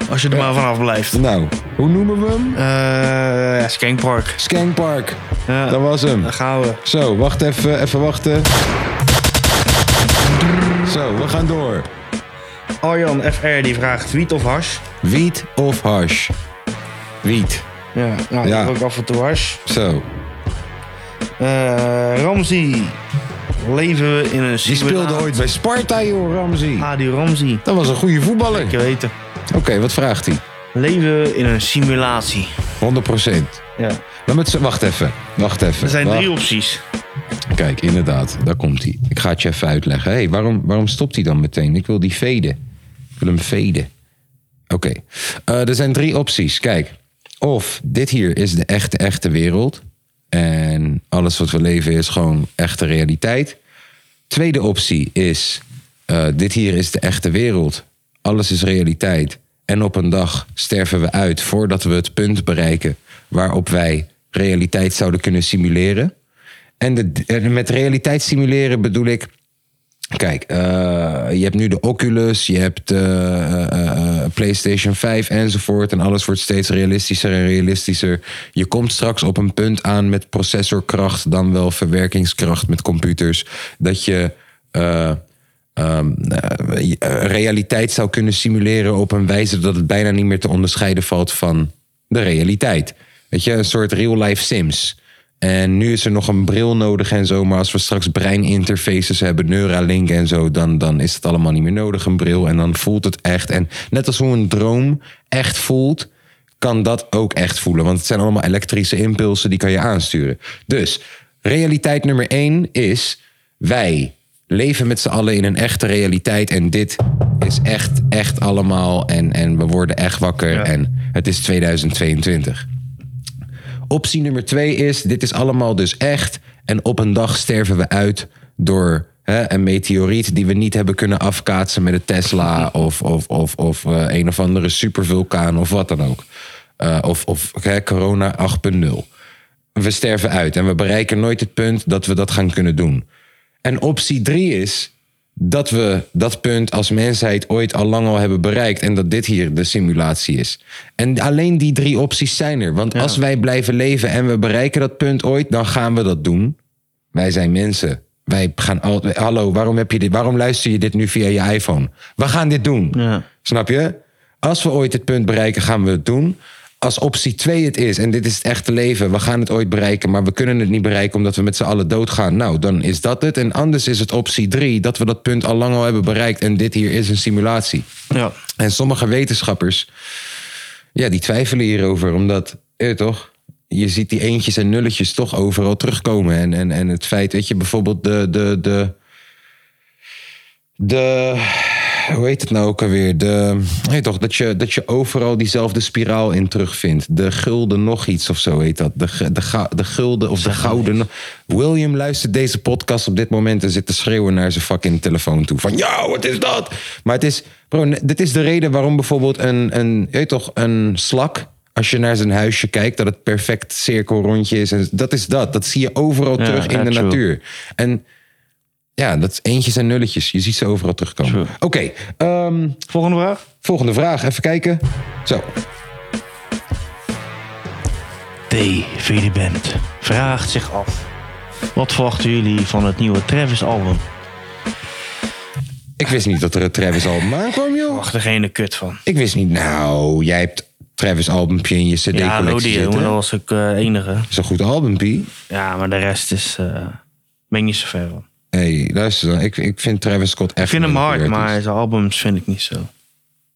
Als je er maar vanaf blijft. Nou, hoe noemen we hem? Eh, ja, Skankpark. Skankpark. Ja. Dat was hem. Daar gaan we. Zo, wacht even, even wachten. Zo, we gaan door. Arjan FR die vraagt wiet of hash. Wiet of hash? Wiet. Ja, nou, ik Ja. heb ook af en toe hash. Zo, Eh Ramzi. Leven we in een Die speelde cyber- ooit bij Sparta, joh, Ramzi. Ah, die Ramzi. Dat was een goede voetballer. Je Oké, weet het. wat vraagt hij? Leven we in een simulatie. 100 procent. Ja. Wacht even, wacht even. Er zijn Wacht. drie opties. Kijk, inderdaad, daar komt hij. Ik ga het je even uitleggen. hey, waarom, waarom stopt hij dan meteen? Ik wil die veden. Ik wil hem veden. Oké, Eh, er zijn drie opties. Kijk, of dit hier is de echte, echte wereld. En alles wat we leven is gewoon echte realiteit. Tweede optie is, eh, dit hier is de echte wereld. Alles is realiteit. En op een dag sterven we uit voordat we het punt bereiken waarop wij realiteit zouden kunnen simuleren. En de, en met realiteit simuleren bedoel ik. Kijk, eh, je hebt nu de Oculus, je hebt eh, eh, eh, PlayStation 5 enzovoort. En alles wordt steeds realistischer en realistischer. Je komt straks op een punt aan met processorkracht, dan wel verwerkingskracht met computers. Dat je eh, ehm, eh, je- eh, realiteit zou kunnen simuleren op een wijze dat het bijna niet meer te onderscheiden valt van de realiteit. Weet je, een soort real-life Sims. En nu is er nog een bril nodig en zo. Maar als we straks breininterfaces hebben, Neuralink en zo, dan, dan is het allemaal niet meer nodig, een bril. En dan voelt het echt. En net als hoe een droom echt voelt, kan dat ook echt voelen. Want het zijn allemaal elektrische impulsen, die kan je aansturen. Dus realiteit nummer één is: wij leven met z'n allen in een echte realiteit. En dit is echt, echt allemaal. En, en we worden echt wakker. En het is 2022. Optie nummer twee is: dit is allemaal dus echt. En op een dag sterven we uit door hè, een meteoriet die we niet hebben kunnen afkaatsen met een Tesla. Of, of, of, of eh, een of andere supervulkaan of wat dan ook. Eh, of of hè, corona 8.0. We sterven uit en we bereiken nooit het punt dat we dat gaan kunnen doen. En optie drie is dat we dat punt als mensheid ooit al lang al hebben bereikt en dat dit hier de simulatie is. En alleen die drie opties zijn er. Want als wij blijven leven en we bereiken dat punt ooit, dan gaan we dat doen. Wij zijn mensen. Wij gaan altijd. Hallo, waarom, heb je dit, waarom luister je dit nu via je iPhone? We gaan dit doen. Ja. Snap je? Als we ooit het punt bereiken, gaan we het doen. Als optie 2 het is, en dit is het echte leven, we gaan het ooit bereiken, maar we kunnen het niet bereiken omdat we met z'n allen doodgaan. Nou, dan is dat het. En anders is het optie 3 dat we dat punt al lang al hebben bereikt en dit hier is een simulatie. Ja. En sommige wetenschappers, ja, die twijfelen hierover, omdat, eh, toch? Je ziet die eentjes en nulletjes toch overal terugkomen. En, en, en het feit, weet je, bijvoorbeeld de, de, de, de hoe heet het nou ook alweer? De, nee toch, dat je, dat je overal diezelfde spiraal in terugvindt. De gulden nog iets of zo heet dat. De, ge- de, ga- de gulden of de gouden. no- William luistert deze podcast op dit moment en zit te schreeuwen naar zijn fucking telefoon toe. Van ja, wat is dat? Maar het is, bro, ne- dit is de reden waarom bijvoorbeeld een, een, je weet toch, een slak. Als je naar zijn huisje kijkt, dat het perfect cirkelrondje is. En dat is dat. Dat zie je overal Ja, terug in ja, de true. natuur. En ja, dat is eentjes en nulletjes. Je ziet ze overal terugkomen. Oké, ehm, Volgende vraag. volgende vraag. Even kijken. Zo. TV Band vraagt zich af. Wat verwachten jullie van het nieuwe Travis album? Ik wist niet dat er een Travis album aankwam, joh. Wacht er geen kut van. Ik wist niet. Nou, jij hebt Travis albumpje in je Ja, cd-collectie Lodi, zitten. jongen, dat Dat was ook eh, enige. is een goed albumpje. Ja, maar de rest is. eh ben ik niet zo ver van. hey, luister dan. Ik, ik vind Travis Scott echt... Ik vind hem een hard, weird maar artiest. zijn albums vind ik niet zo.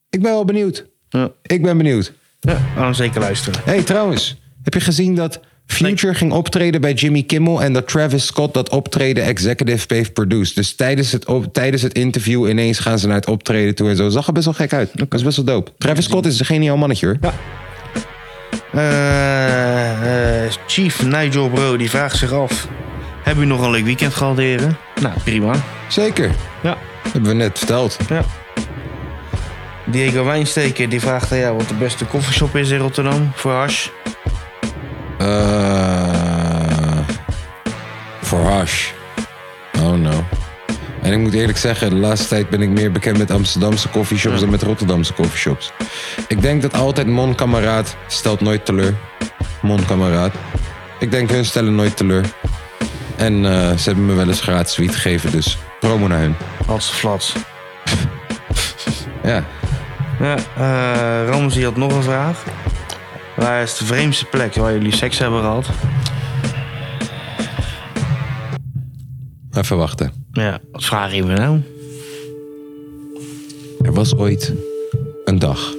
Ik ben wel benieuwd. Ja, Ik ben benieuwd. daarom zeker luisteren. hey, trouwens. Heb je gezien dat Future ging optreden bij Jimmy Kimmel... en dat Travis Scott dat optreden executive heeft produced? Dus tijdens het, op, tijdens het interview ineens gaan ze naar het optreden toe en zo. Zag er best wel gek uit. Dat is best wel dope. Travis Scott is een geniaal mannetje, hoor. Eh, eh, Chief Nigel Bro, die vraagt zich af. Hebben jullie nog een leuk weekend gehad, heren? Nou, prima. Zeker. Ja. Hebben we net verteld. ja. Diego Wijnsteker, die vraagt aan jou wat de beste koffieshop is in Rotterdam voor hash. Eh, Voor hash. Oh no. En ik moet eerlijk zeggen, de laatste tijd ben ik meer bekend met Amsterdamse coffeeshops dan met Rotterdamse coffeeshops. Ik denk dat altijd Mon Kameraad stelt nooit teleur. Mon Kameraad. Ik denk hun stellen nooit teleur. En eh, ze hebben me wel eens gratis wiet gegeven, dus promo naar hun. Als flats. Ja. Ja, eh Ramzi had nog een vraag. Waar is de vreemdste plek waar jullie seks hebben gehad? Even wachten. Ja, wat vraag je me nou? Er was ooit een dag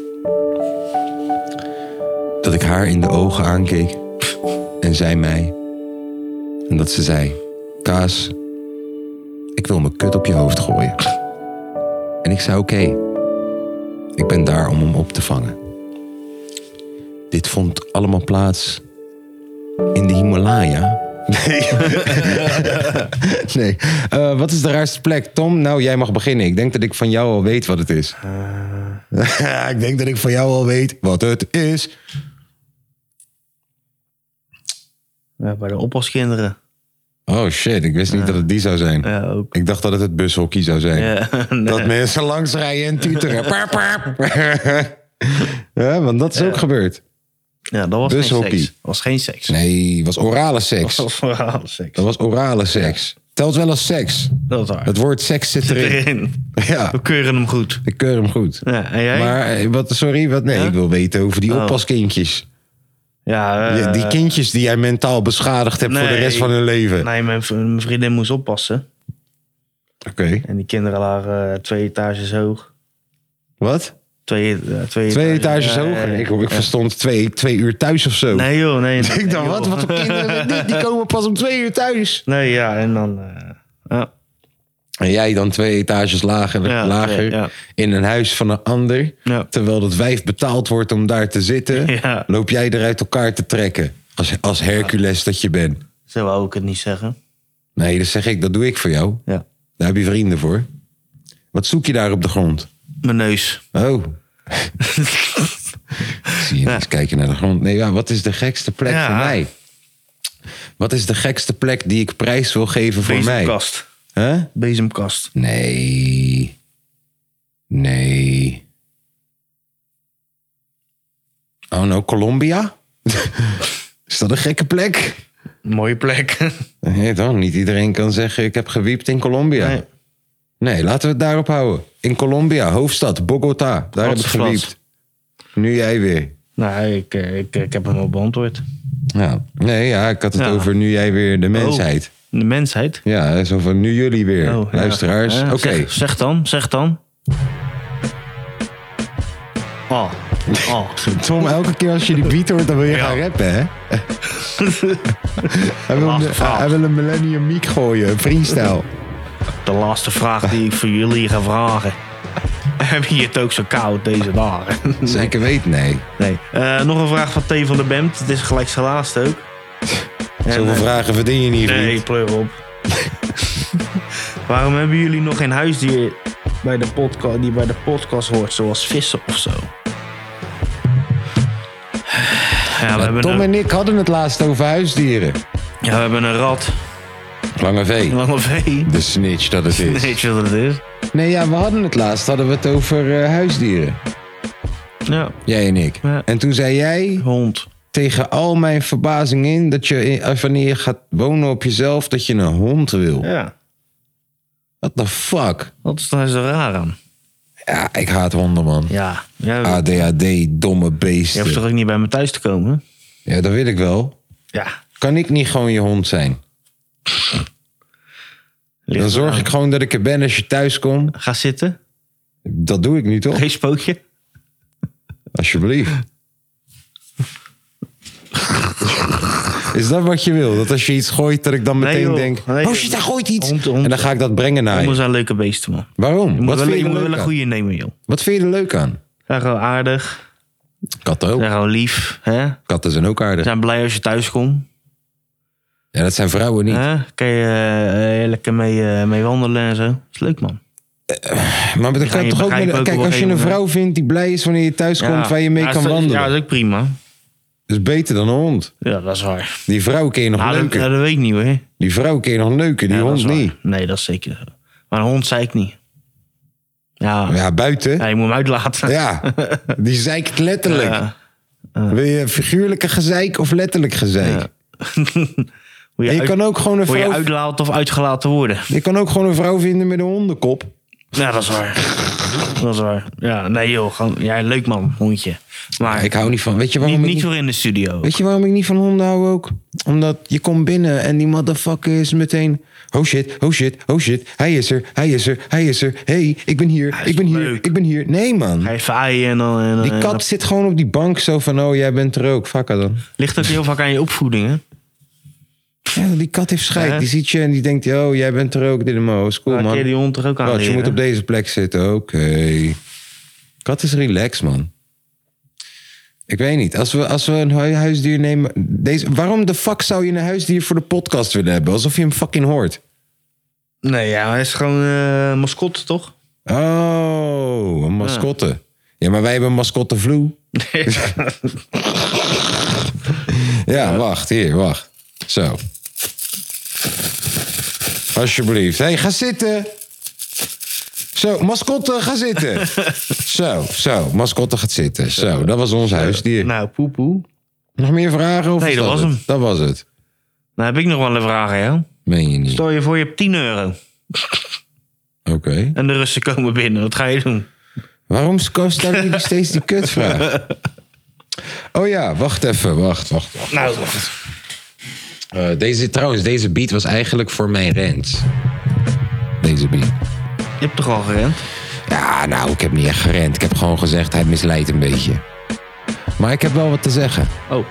dat ik haar in de ogen aankeek en zij mij. En dat ze zei: Kaas, ik wil mijn kut op je hoofd gooien. En ik zei: Oké, ik ben daar om hem op te vangen. Dit vond allemaal plaats in de Himalaya. Nee. Eh, wat is de raarste plek? Tom, nou, jij mag beginnen. Ik denk dat ik van jou al weet wat het is. Eh. ik denk dat ik van jou al weet wat het is. Ja, bij de oppaskinderen. Oh shit, ik wist niet dat het die zou zijn. Ja, ook. Ik dacht dat het het bushockey zou zijn. Ja, nee. Dat mensen langs rijden en tuteren. Paap, paap. ja, want dat is ook gebeurd. ja, dat was Dus geen hockey. seks. was geen seks. Nee, was orale seks. Dat was vooral seks. Dat was orale seks. Telt wel als seks. Dat is waar. Het woord seks zit erin. Erin. Ja, We keuren hem goed. ik keur hem goed. Ja, en jij? Maar eh, wat, sorry, wat, nee, Ja? ik wil weten over die Oh. oppaskindjes. ja, eh, Ja, die kindjes die jij mentaal beschadigd hebt voor de Nee. rest van hun leven. Nee, mijn, v- mijn vriendin moest oppassen. Oké. En die kinderen lagen eh, twee etages hoog. Wat? Twee, eh, twee, Twee etages ja, hoger. ja, ja. Ik, ik verstond twee, twee uur thuis of zo. eh, Nee joh, nee. nee, Ik dacht, joh. wat? Wat voor kinderen? Die, die komen pas om twee uur thuis. Nee, ja, en dan... eh, ja. En jij dan twee etages lager, Ja, lager ja. in een huis van een ander. Ja. Terwijl dat wijf betaald wordt om daar te zitten. Ja. Loop jij er uit elkaar te trekken. Als, als Hercules dat je bent. Zo wou ik het niet zeggen. Nee, dat zeg ik. Dat doe ik voor jou. Ja. Daar heb je vrienden voor. Wat zoek je daar op de grond? Mijn neus. Oh. Zie je eens kijken naar de grond. Nee, ja, wat is de gekste plek Ja. voor mij? Wat is de gekste plek die ik prijs wil geven voor mij? Bezemkast. Huh? Bezemkast. Nee. Nee. Oh no, Colombia? is dat een gekke plek? Mooie plek. Nee, dan. Niet iedereen kan zeggen ik heb gewiept in Colombia. Nee. Nee. laten we het daarop houden. In Colombia, hoofdstad, Bogota. Daar heb ik Rotterdam. gewiept. Nu jij weer. nou, ik, eh, ik, ik heb hem al beantwoord. Ja. Nee, ja, ik had het Ja. Oh. over nu jij weer de mensheid. De mensheid. Ja, zo van nu jullie weer. Oh, ja. Luisteraars. Ja, Oké. Zeg, zeg dan, zeg dan. Oh, oh. Tom, elke keer als je die beat hoort, dan wil je gaan rappen, hè? hij, wil een, Achterhaald. hij wil een millennium mic gooien, een freestyle. De laatste vraag die ik voor jullie ga vragen. hebben hier het ook zo koud deze dagen. Zeker weet, nee. Nee. Eh, nog een vraag van T van de Bemt. Het is gelijk zijn laatste ook. En, Zoveel eh, vragen verdien je niet, Nee, vriend. pleur op. Waarom hebben jullie nog geen huisdier bij de podca- die bij de podcast hoort, zoals vissen of zo? Ja, we, hebben Tom een, en ik hadden het laatst over huisdieren. ja, we hebben een rat, Lange V. een lange vee. De snitch dat het is. Weet je wat het is? Nee, ja, we hadden het laatst hadden we het over eh, huisdieren. Ja, Jij en ik. Ja. En toen zei jij hond. tegen al mijn verbazing in dat je in- eh, wanneer je gaat wonen op jezelf dat je een hond wil. Ja, What the fuck? dat is daar zo raar aan. Ja, ik haat honden man. Ja, Ah, ja ADHD, domme je hoeft toch beesten. ook niet bij me thuis te komen? Ja, dat wil ik wel. Ja. Kan ik niet gewoon je hond zijn? Dan zorg ik gewoon dat ik er ben als je thuis komt. Ga zitten. Dat doe ik nu toch? Geen spookje. Alsjeblieft. Is dat wat je wil? Dat als je iets gooit, dat ik dan Nee, meteen joh. denk... Nee, oh joh. shit, daar gooit iets. Hond, hond. En dan ga ik dat brengen naar Honden je. zijn leuke beesten, man. Je Waarom? moet, Wat wel, vind je je moet er wel leuk een aan? goede nemen, joh. Wat vind je er leuk aan? Zijn gewoon aardig. Katten ook. Zijn gewoon lief. Hè? Katten zijn ook aardig. Zijn blij als je thuis komt. Ja, dat zijn vrouwen niet. Hè? Kan je eh, eh, lekker mee, eh, mee wandelen en zo. Is leuk, man. Maar dat ga kan je toch ook... begrijpen met- ook kijk, op een als je een gegeven vrouw vindt die blij is wanneer je thuis komt... waar je mee Ja, kan is- wandelen. Ja, Dat dat is ook prima. is beter dan een hond. Ja, dat is waar. Die vrouw kun je nog Nou, dat, neuken. dat weet ik niet, hoor. Die Die vrouw kun je nog neuken, die hond niet. Nee, dat is zeker zo. Maar een hond zei ik niet. Ja, ja. Ja, buiten. je moet hem uitlaten. Ja, die zeikt letterlijk. Ja. Wil je figuurlijke gezeik of letterlijk gezeik? Ja. Hoe En je, je uit, kan ook gewoon een hoe je vrouw... uitlaat of uitgelaten worden. Je kan ook gewoon een vrouw vinden met een hondenkop. Ja, dat is waar. dat is waar. Ja, nee joh, gewoon, ja, leuk man, hondje. Maar Ik hou niet van. Weet je niet, waarom ik niet niet, voor in de studio. weet je waarom ik niet van honden hou ook? Omdat je komt binnen en die motherfucker is meteen. Oh shit, oh shit, oh shit. Hij is er, hij is er, hij is er. hey, ik ben hier, Hij is ik ben hier, leuk. ik ben hier. Nee man. Hij eh, vaaien en dan... En, dan- Die en dan- kat zit gewoon op die bank zo van, oh jij bent er ook. Fuck haar dan. ligt ook heel vaak aan je opvoeding, hè? Ja, die kat heeft Ja. scheid. Die ziet je en die denkt, oh jij bent er ook. Dit en mo, is cool Laat je die man. hond er ook aan Wat, je leren. moet op deze plek zitten, oké. Kat is relaxed, man. Ik weet niet. Als we, als we een hu- huisdier nemen... Deze, waarom de fuck zou je een huisdier voor de podcast willen hebben? Alsof je hem fucking hoort. Nee, ja, hij is gewoon eh mascotte, toch? Oh, een mascotte. Ja, maar wij hebben een mascotte vloe. ja, wacht. Hier, wacht. Zo. Alsjeblieft. Hé, hey, ga zitten. Zo, mascotte, ga zitten. zo, zo. Mascotte gaat zitten. Zo, dat was ons huisdier. Nou, poepoe. Nog meer vragen? Of Nee, is dat was het? hem. Dat was het. Nou, heb ik nog wel een vraag aan jou. Meen je niet? Stel je voor, je hebt 10 euro. Oké. En de Russen komen binnen. Wat ga je doen? Waarom stel jullie steeds die kutvraag? Oh ja, wacht even, wacht, wacht. wacht. Nou, Eh, deze, trouwens, deze beat was eigenlijk voor mijn rent. Deze beat. je hebt toch al gerend? Ja, nou, ik heb niet echt gerend. Ik heb gewoon gezegd, hij misleidt een beetje. Maar ik heb wel wat te zeggen. Oh.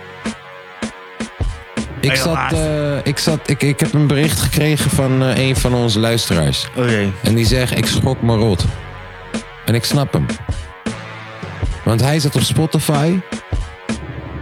Ik Heel zat, aardig. eh, ik, zat, ik, ik heb een bericht gekregen van eh, een van onze luisteraars. Oké. En die zegt, ik schok me rot. En ik snap hem. Want hij zat op Spotify.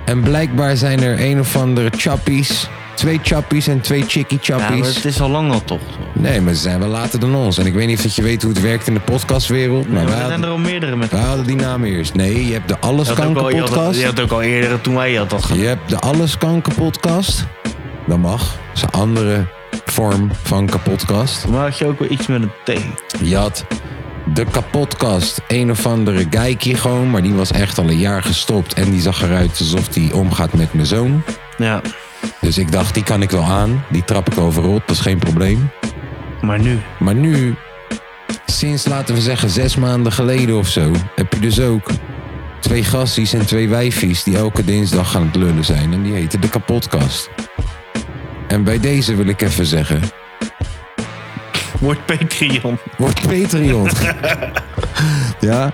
En blijkbaar zijn er een of andere chappies. Twee chappies en twee chickie Ja, maar chappies. het is al lang al, toch? Nee, maar ze zijn wel later dan ons. En ik weet niet of dat je weet hoe het werkt in de podcastwereld. Maar Ja, wij maar er zijn er hadden, al meerdere met... wij hadden die naam eerst. Nee, je hebt de Alles Je had, ook Kanker al, je, had, podcast. je had ook al eerder, toen wij had dat gedaan. Je hebt de Alles Kanker podcast. Dat mag. Dat is een andere vorm van kapotkast. Maar had je ook wel iets met een T? Je had de kapotkast. Een of andere geikie gewoon. Maar die was echt al een jaar gestopt. En die zag eruit alsof die omgaat met mijn zoon. Ja, Dus ik dacht, die kan ik wel aan. Die trap ik overal op. Dat is geen probleem. maar nu. Maar nu, sinds laten we zeggen zes maanden geleden of zo... heb je dus ook twee gasties en twee wijfies... die elke dinsdag aan het lullen zijn. En die heten de kapotkast. En bij deze wil ik even zeggen... Wordt Patreon. Wordt Patreon. ja.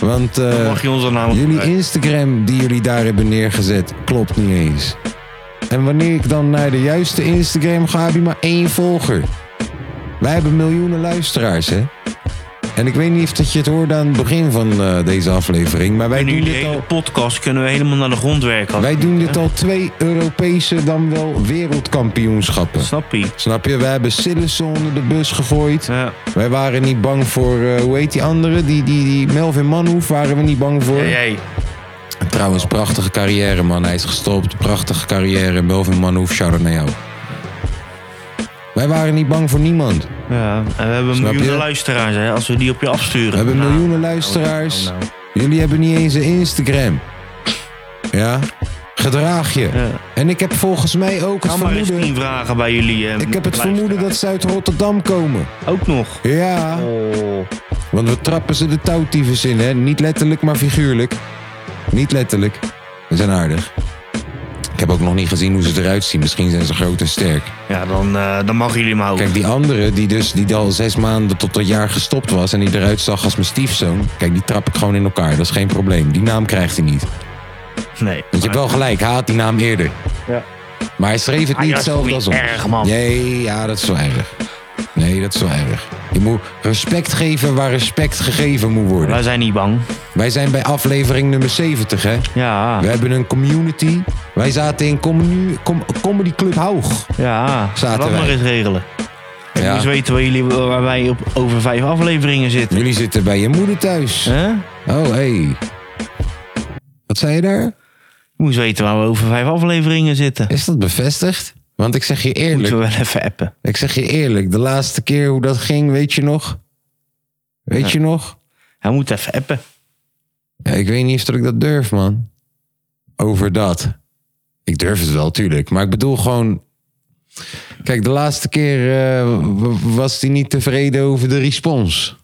Want eh, Mag je ons dan namelijk... jullie Instagram die jullie daar hebben neergezet, klopt niet eens. En wanneer ik dan naar de juiste Instagram ga, heb je maar één volger. Wij hebben miljoenen luisteraars, hè? En ik weet niet of dat je het hoorde aan het begin van eh, deze aflevering. Maar wij nu doen, die dit hele al, podcast kunnen we helemaal naar de grond werken. wij doen dit al twee Europese dan wel wereldkampioenschappen. Snap je? Snap je? We hebben Sillissen onder de bus gegooid. Ja. Wij waren niet bang voor, eh, hoe heet die andere? Die, die, die Melvin Manhoef waren we niet bang voor. Jij. Trouwens, prachtige carrière, man. Hij is gestopt. Prachtige carrière. Melvin Manhoef, shout-out naar jou. Wij waren niet bang voor niemand. Ja, en we hebben Snap miljoenen je? luisteraars, hè, als we die op je afsturen. We hebben Nou, miljoenen luisteraars. nou, nou. Jullie hebben niet eens een Instagram. Ja? Gedraag je. En ik heb volgens mij ook het Ga maar eens vermoeden... tien vragen bij jullie. eh, Ik heb het luisteraars. vermoeden dat ze uit Rotterdam komen. Ook nog. Oh. Ja. Want we trappen ze de touwtyfus in, hè? Niet letterlijk, maar figuurlijk. Niet letterlijk. We zijn aardig. Ik heb ook nog niet gezien hoe ze eruit zien. Misschien zijn ze groot en sterk. Ja, dan, eh, dan mag jullie maar ook. Kijk, die andere, die dus die al zes maanden tot een jaar gestopt was... en die eruit zag als mijn stiefzoon... Kijk, die trap ik gewoon in elkaar. Dat is geen probleem. Die naam krijgt hij niet. nee. Want je hebt wel gelijk, hij had die naam eerder. Maar hij schreef het Ah, niet ja, dat is hetzelfde toch als niet ons. erg, man? Nee, ja, dat is wel erg. Nee, dat is wel erg. Je moet respect geven waar respect gegeven moet worden. Wij zijn niet bang. Wij zijn bij aflevering nummer 70, hè? Ja, We hebben een community. Wij zaten in commu- com- Comedy Club Haug. ja. Zaten dat wij. maar eens regelen. Ik Ja. moest weten waar, jullie, waar wij op, over vijf afleveringen zitten. Jullie zitten bij je moeder thuis. Hè? Oh, hé. Hey. Wat zei je daar? Ik moest weten waar we over vijf afleveringen zitten. Is dat bevestigd? Want ik zeg je eerlijk, Moeten we wel even appen. ik zeg je eerlijk, de laatste keer hoe dat ging, weet je nog? Weet je nog? Hij moet even appen. Ja, ik weet niet of dat ik dat durf, man. Over dat. Ik durf het wel, tuurlijk. Maar ik bedoel gewoon. Kijk, de laatste keer eh, w- was hij niet tevreden over de respons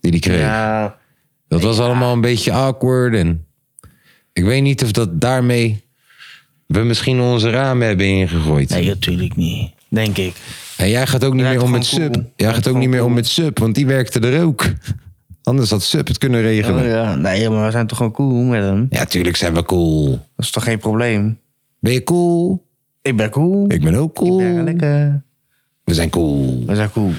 die hij kreeg. Ja. dat was allemaal een beetje awkward. En ik weet niet of dat daarmee we misschien onze ramen hebben ingegooid. Nee, natuurlijk niet. Denk ik. En jij gaat ook niet Blijft meer om gewoon met sub. cool. Jij gaat ook gewoon niet meer om cool. met sub, want die werkte er ook. Anders had sub het kunnen regelen. Oh, ja. Nee, maar we zijn toch gewoon cool met hem? Ja, tuurlijk zijn we cool. Dat is toch geen probleem? Ben je cool? Ik ben cool. Ik ben ook cool. ben lekker. We zijn cool. We zijn cool.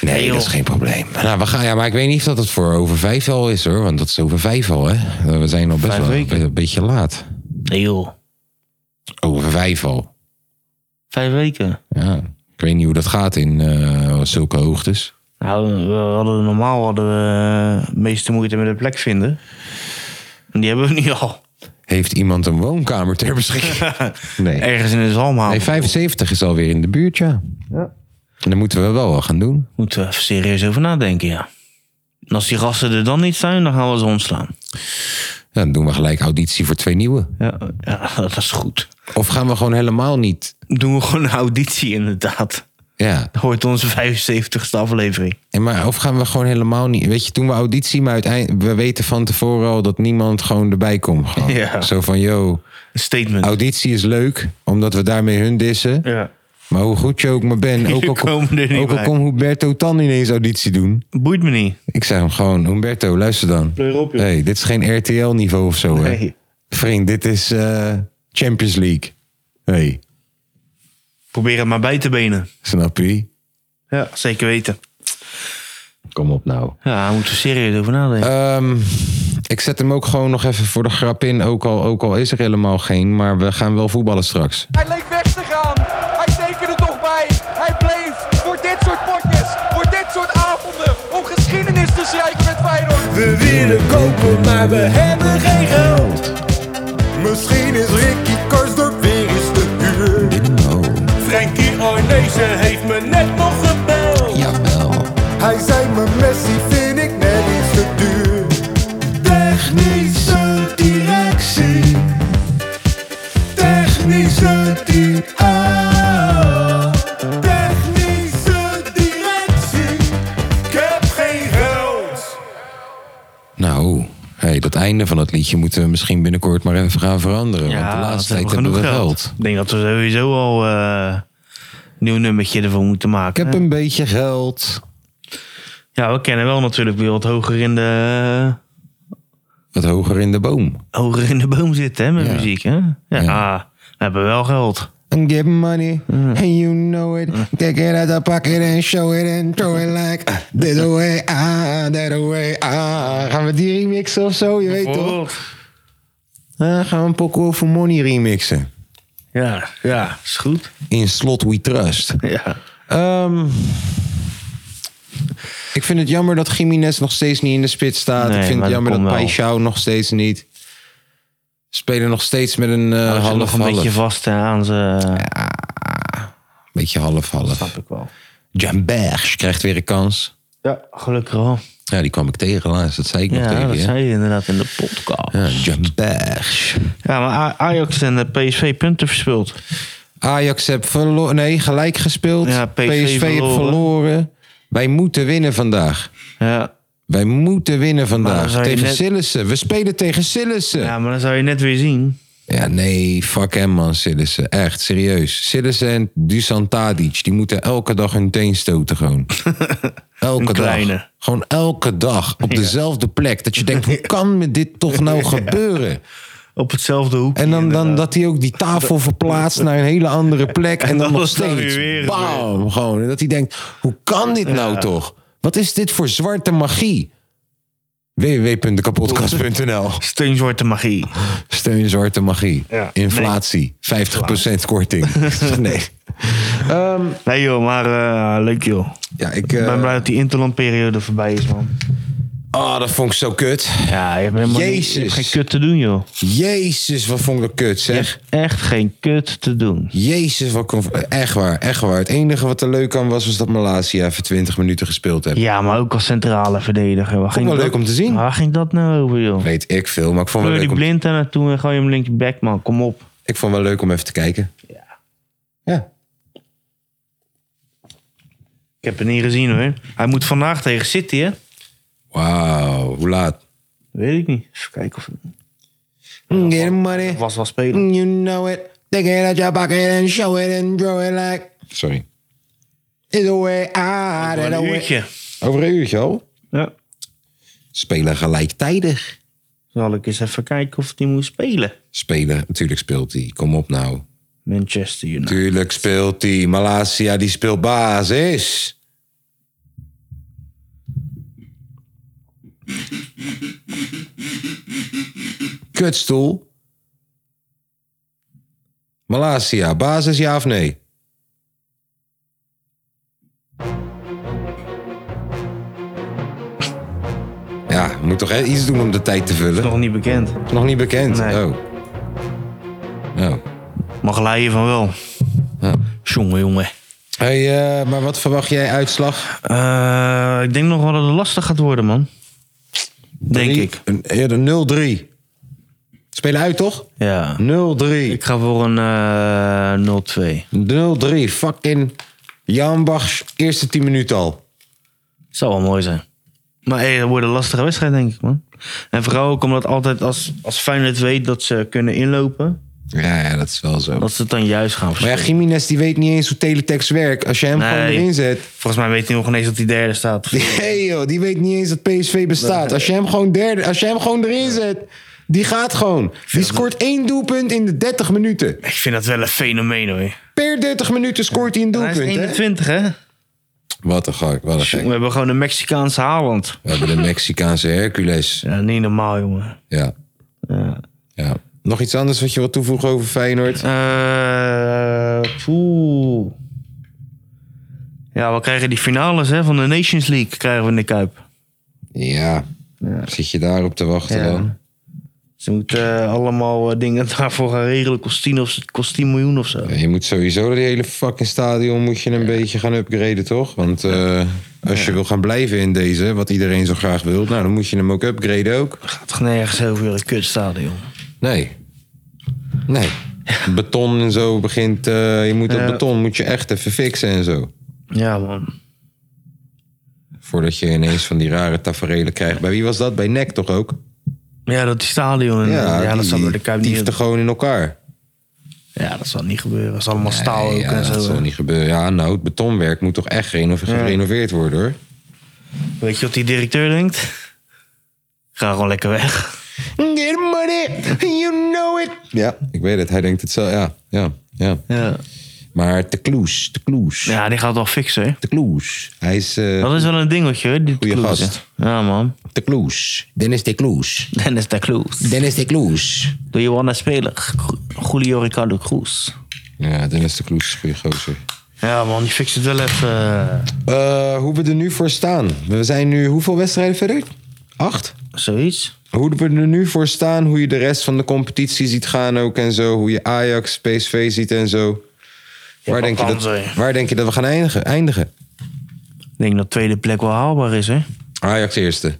Nee, dat is geen probleem. Nou, we gaan, ja, maar ik weet niet of dat het voor over vijf al is hoor. Want dat is over vijf al, hè? We zijn al best Vijf wel weken. een be- beetje laat. Nee joh. Over vijf al. Vijf weken. Ja. Ik weet niet hoe dat gaat in eh, zulke hoogtes. Nou, we hadden normaal hadden we eh, meeste moeite met een plek vinden. En die hebben we nu al. Heeft iemand een woonkamer ter beschikking? Nee. Ergens in de zalmhaal. nee 75 is alweer in de buurt, ja. ja. En dat moeten we wel wel gaan doen. Moeten we even serieus over nadenken, ja. En als die gasten er dan niet zijn, dan gaan we ze ontslaan. Ja, dan doen we gelijk auditie voor twee nieuwe. Ja, ja dat is goed. Of gaan we gewoon helemaal niet. Doen we gewoon een auditie inderdaad. Ja, Hoort onze 75ste aflevering. En maar of gaan we gewoon helemaal niet. Weet je, toen we auditie, maar uiteindelijk. We weten van tevoren al dat niemand gewoon erbij komt. Gewoon. Ja. Zo van, yo, Een statement. auditie is leuk, omdat we daarmee hun dissen. ja. Maar hoe goed je ook maar bent, ook al, kom- komen er niet ook al bij. kon Humberto Tan ineens auditie doen. Boeit me niet. Ik zei hem gewoon, Humberto, luister dan. op, joh. hey, dit is geen RTL-niveau of zo, hè? Nee. Vriend, dit is eh, Champions League. hey, Probeer het maar bij te benen. snap je? Ja. Zeker weten. Kom op nou. Ja, daar moeten we serieus over nadenken. Ehm, ik zet hem ook gewoon nog even voor de grap in. Ook al, ook al is er helemaal geen. Maar we gaan wel voetballen straks. Hij leek weg te gaan. Hij tekende toch bij. Hij bleef voor dit soort potjes, voor dit soort avonden, om geschiedenis te schrijven met Feyenoord. We willen kopen, maar we hebben geen geld. Misschien is Ricky Karsdorp weer eens te duur. Oh, Frankie Arnezen heeft me net nog gebeld. jawel. Hij zei mijn Messi vind ik net iets te duur. Technische directie. Technische directie. Technische directie. Ik heb geen geld. Nou, hey, dat einde van het liedje moeten we misschien binnenkort maar even gaan veranderen. want ja, de laatste we tijd hebben we genoeg geld. Ik denk dat we sowieso al eh, een nieuw nummertje ervoor moeten Ik maken. heb hè? een beetje geld. Ja, we kennen wel natuurlijk weer wat hoger in de, eh, Wat hoger in de boom. hoger in de boom zitten hè, met Ja. muziek. Hè? Ja, Ja. we hebben wel geld. and give money, and you know it. Take it out the pocket and show it and throw it like ah, this away, ah, that away, ah. Gaan we die remixen of zo? Je weet toch? Ah, gaan we een Poco for Money remixen? Ja, ja, is goed. In Slot We Trust. Ja. Ehm, ik vind het jammer dat Jiménez nog steeds niet in de spits staat. Nee, ik vind maar het dat jammer dat komt wel. Paixão nog steeds niet. Spelen nog steeds met een eh Hou half ze nog een half. beetje vast eh, aan ze. beetje half half. ik wel. Jamberg krijgt weer een kans. Ja, gelukkig wel. Ja, die kwam ik tegen laatst. Dat zei ik nog Ja, tegen dat je. zei je inderdaad in de podcast. Ja, Jamberg. Ja, maar A- Ajax en eh, PSV punten verspeeld. Ajax heeft verloren. Nee, gelijk gespeeld. Ja, PSV heeft verloren. verloren. Wij moeten winnen vandaag. Ja. Wij moeten winnen dan vandaag. zou je Tegen net- Sillissen. We spelen tegen Sillissen. ja, maar dan zou je net weer zien. Ja, nee, fuck hem man, Sillissen. Echt, serieus. Sillissen en Dusan Tadic, die moeten elke dag hun teen stoten gewoon. Elke Een dag. kleine. Gewoon elke dag, op dezelfde plek. Dat je denkt, hoe kan me dit toch nou gebeuren? Op hetzelfde hoek. En dan, dan dat hij ook die tafel verplaatst naar een hele andere plek. En, En dan dan nog is dat steeds, weer weer. bam, gewoon. En dat hij denkt, hoe kan dit nou toch? Wat is dit voor zwarte magie? www.kapotkast.nl Steunzwarte magie. Steun zwarte magie. Ja. Inflatie. 50% korting. nee. Nee joh, maar eh, leuk joh. Ja, ik. Ik eh, ben blij dat die interlandperiode voorbij is, man. Ah, dat vond ik zo kut. Ja, je hebt helemaal niet- je hebt Jezus. geen kut te doen, joh. Jezus, wat vond ik dat kut, Je zeg. hebt echt geen kut te doen. Jezus, wat kon. Echt waar, echt waar. Het enige wat er leuk aan was, was dat Malasia even 20 minuten gespeeld heeft. Ja, maar ook als centrale verdediger. Waar ging wel dat- leuk om te zien. Waar ging dat nou over, joh? Weet ik veel, maar ik vond, wel Kleur leuk die om, blind daar naartoe en gooi hem linkje back, man. Kom op. ik vond wel leuk om even te kijken. Ja. Ik heb het niet gezien, hoor. Hij moet vandaag tegen City, hè? Wauw, hoe laat? Weet ik niet. Even kijken of het Get money. was wel spelen. You know it. Take it out your pocket and show it and draw it like. Sorry. Either way, ah, that Een way. uurtje. Over een uurtje al? Ja. Spelen gelijktijdig. Zal ik eens even kijken of die moet spelen. Spelen, natuurlijk speelt hij. Kom op nou. Manchester United. Tuurlijk speelt hij. Malasia, die speelt basis. Kutstoel. Malasia, basis ja of nee? Ja, moet toch hè, iets doen om de tijd te vullen? Nog niet bekend. Nog niet bekend. Nee. Oh. Oh. Mag lijden van wel. Jongen, jongen. Hey, eh, maar wat verwacht jij uitslag? Eh, ik denk nog wel dat het lastig gaat worden, man. Denk Drie- ik. Een, eerder 0-3. Spelen uit, toch? Ja. 0-3. Ik ga voor een eh 0-2. 0-3. Fucking Jan Bachs eerste 10 minuten al. Zou wel mooi zijn. Maar hey, dat wordt een lastige wedstrijd, denk ik, man. En vooral ook omdat altijd als, als Feyenoord weet dat ze kunnen inlopen... Ja, ja, dat is wel zo. dat ze het dan juist gaan Maar ja, verspelen. Jiménez die weet niet eens hoe teletext werkt. Als je hem gewoon Nee. erin zet. Volgens mij weet hij nog ineens dat hij derde staat. Hey joh, die weet niet eens dat PSV bestaat. Als je hem gewoon, derde, als je hem gewoon erin zet. Die gaat gewoon. Die scoort één doelpunt in de 30 minuten. Ik vind dat wel een fenomeen, hoor. Per 30 minuten scoort hij een Hij is doelpunt, hè? 21, hè? Wat een gek, wat een gek. We hebben gewoon een Mexicaanse Haaland. We hebben de Mexicaanse Hercules. Ja, niet normaal, jongen. Ja. ja. Nog iets anders wat je wilt toevoegen over Feyenoord? Eh, poeh. Ja, we krijgen die finales hè, van de Nations League krijgen we in de Kuip. Ja. Zit je daarop te wachten Ja. dan? Ze moeten eh, allemaal eh, dingen daarvoor gaan regelen. Kost 10, of, kost 10 miljoen of zo. Je moet sowieso dat hele fucking stadion moet je een beetje gaan upgraden, toch? Want eh, als je wil gaan blijven in deze, wat iedereen zo graag wil, nou, dan moet je hem ook upgraden ook. gaat toch nergens over een kutstadion. Nee. Nee. Beton en zo begint, eh, je moet dat Ja. beton moet je echt even fixen en zo. Ja, man. Voordat je ineens van die rare tafereelen krijgt. Bij wie was dat? Bij NEC toch ook? Ja, dat die stadion. En, ja, dat zal door de Kuip niet tiefde gewoon in elkaar. Ja, dat zal niet gebeuren. Dat is allemaal staal ook Nee, ja, en zo. dat zal niet gebeuren. Ja, nou, het betonwerk moet toch echt gereno- gerenoveerd worden, hoor. Weet je wat die directeur denkt? Ga gewoon lekker weg. Get money, you know it. Ja, ik weet het. Hij denkt het zo. Ja, ja. Ja. Ja. Maar te kloes, te kloes, ja, die gaat wel fixen. hè. te kloes. Hij is eh Dat is wel een dingetje, hoor, die Goeie Kloes, hè. gast. Ja, man. te kloes. Dennis de kloes. Dennis de Kloes. Dennis de kloes. Door Johanna Speler. Julio Ricardo Cruz. Ja, Dennis de kloes is een goede gozer. Ja, man, die fixt het wel even. eh, Eh, hoe we er nu voor staan. We zijn nu hoeveel wedstrijden verder? Acht? zoiets. Hoe we er nu voor staan, hoe je de rest van de competitie ziet gaan ook en zo. Hoe je Ajax, PSV ziet en zo. Waar wat denk, je kan dat, ze? waar denk je dat we gaan eindigen? eindigen? Ik denk dat tweede plek wel haalbaar is, hè? Ajax eerste.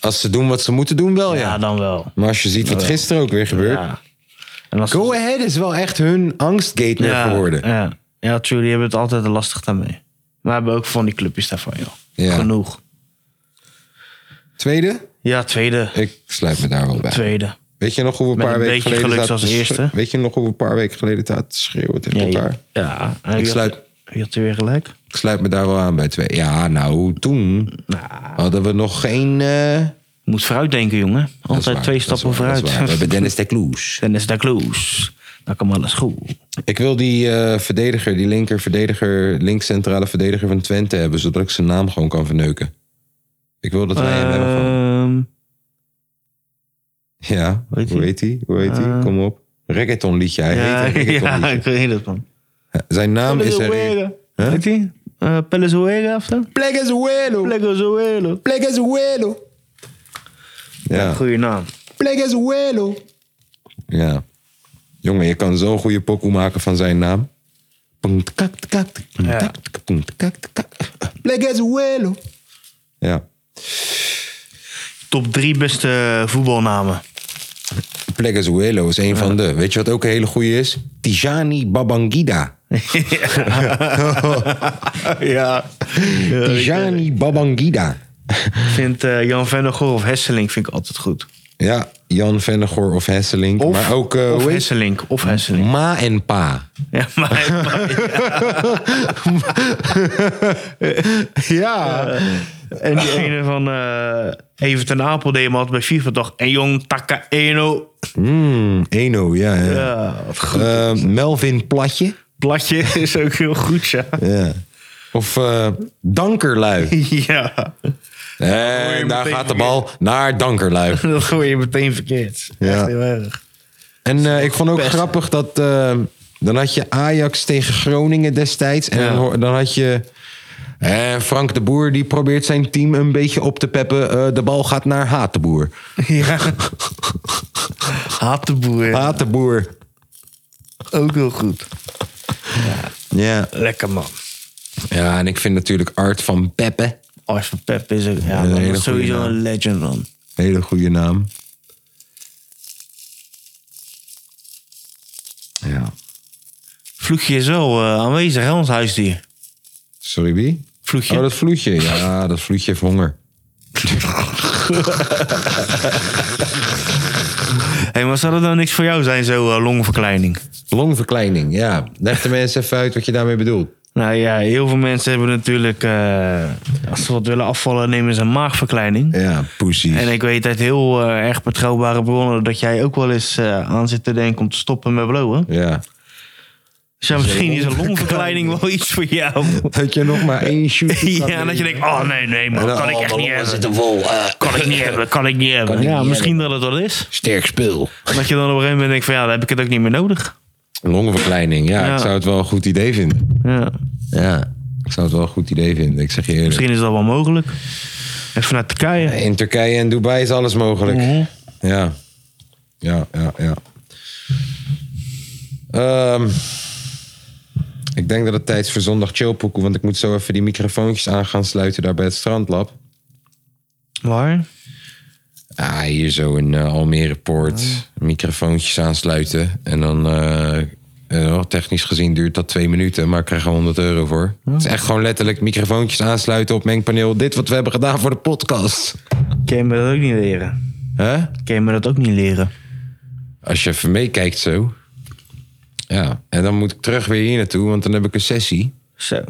Als ze doen wat ze moeten doen, wel ja. Ja, dan wel. Maar als je ziet wat gisteren ook weer gebeurt. Ja. En als Go Ahead is wel echt hun angstgate meer ja, geworden. Ja. ja, true. Die hebben het altijd lastig daarmee. Maar we hebben ook van die clubjes daarvan, joh. Ja. Genoeg. Tweede? Ja, tweede. Ik sluit me daar wel bij. Tweede. Weet je nog hoe we een Met paar een weken beetje geleden geluk zaten te als schre- eerste. Weet je nog hoe we een paar weken geleden zaten te schreeuwen tegen Ja, elkaar? Ja. En wie had- sluit- Wie had er weer gelijk? Ik sluit me daar wel aan bij twee. Ja, nou, toen hadden we nog geen... eh, Moet vooruit denken, jongen. dat is Altijd waar, twee dat is stappen waar, dat is vooruit. waar. We hebben Dennis de Kloes. Dennis de Kloes. Dat kan alles goed. Ik wil die eh, verdediger, die linker verdediger, linkscentrale verdediger van Twente hebben, zodat ik zijn naam gewoon kan verneuken. Ik wil dat wij hem hebben van. Ehm, Ja, Eh, Hoe heet hoe die? heet hij? Hoe heet hij? Eh. Kom op. Reggaeton liedje. Hij ja, heet een reggaeton ja, liedje. ik weet het, man. Zijn naam is... er- Pelezuela. Weet je? Eh Pelezuela of zo? Plegezuelo. Pelezuela. Plegezuelo. Ja, Goeie naam. Plegezuelo. Ja. Jongen, je kan zo'n goede pokoe maken van zijn naam. Ja. Plegezuelo. Ja. Top drie beste voetbalnamen. Plegezuelo is een van de. Weet je wat ook een hele goede is? Tijani Babangida. ja. Tijani Babangida. Ik vind eh, Jan Vennegoor of Hesselink vind ik altijd goed. Ja, Jan Vennegoor of Hesselink. Of, maar ook eh, of hoe heet- Hesselink. Of Hesselink. Ma en Pa. Ja, maar, maar- Ja. en die ene van eh Even ten Apel deed hem altijd bij FIFA toch. En Jong Taka Eno. Hmm, Eno, ja. ja. Ja, wat goed. Eh, Melvin Platje. Platje is ook heel goed, ja. Ja. Of eh, Dankerlui. ja. En daar meteen gaat de bal naar Dankerlui. Dat gooi je meteen verkeerd. Ja. Echt heel erg. En eh, ik vond ook Best. grappig dat. eh, dan had je Ajax tegen Groningen destijds. En Ja. dan ho- dan had je. eh, Frank de Boer die probeert zijn team een beetje op te peppen. Eh, de bal gaat naar Hatenboer. Ja. Haat de boer. Hatenboer. Ook heel goed. Ja. Lekker man. ja, en ik vind natuurlijk Art van Peppe. Ars van Pep is ook ja, een man, hele dat is sowieso goeie een legend man. Hele goede naam. Ja. Vloekje is wel eh, aanwezig, hè, ons huisdier. Sorry, wie? Vloekje. Oh, dat vloedje. Ja, dat vloedje heeft honger. hey, maar zou dat nou niks voor jou zijn, zo'n longverkleining? Longverkleining, ja. Leg de mensen even uit wat je daarmee bedoelt. Nou ja, heel veel mensen hebben natuurlijk... eh, als ze wat willen afvallen, nemen ze een maagverkleining. Ja, poesie. En ik weet uit heel eh, erg betrouwbare bronnen... dat jij ook wel eens eh, aan zit te denken om te stoppen met blowen. Ja. Dus ja, misschien is een longverkleining wel iets voor jou. Dat je nog maar één shoot Ja, en dat je denkt, oh nee, nee, man, En dan, kan ik oh, echt mijn niet longen hebben. eh, Kan ik niet hebben, kan ik niet hebben. ik ja, niet misschien dat het wel is. Sterk spul. Dat je dan op een gegeven moment denkt van ja, dan heb ik het ook niet meer nodig. Longenverkleining, ja, Ja. Ik zou het wel een goed idee vinden. Ja. Ja. Ik zou het wel een goed idee vinden, ik zeg je eerlijk. Misschien is dat wel mogelijk. Even naar Turkije. In Turkije en Dubai is alles mogelijk. Ja. Ja, ja, ja. Ehm, ik denk dat het tijd is voor zondag chillpokoe, want ik moet zo even die microfoontjes aan gaan sluiten daar bij het strandlab. Waar? Ah, hier zo in eh, Almere Poort. Microfoontjes aansluiten. En dan, eh, eh, technisch gezien duurt dat twee minuten, maar ik krijg er 100 euro voor. Het is echt gewoon letterlijk microfoontjes aansluiten op mengpaneel. Dit wat we hebben gedaan voor de podcast. Kan je me dat ook niet leren? Huh? Kan je me dat ook niet leren? Als je even meekijkt zo. Ja, en dan moet ik terug weer hier naartoe, want dan heb ik een sessie. Zo.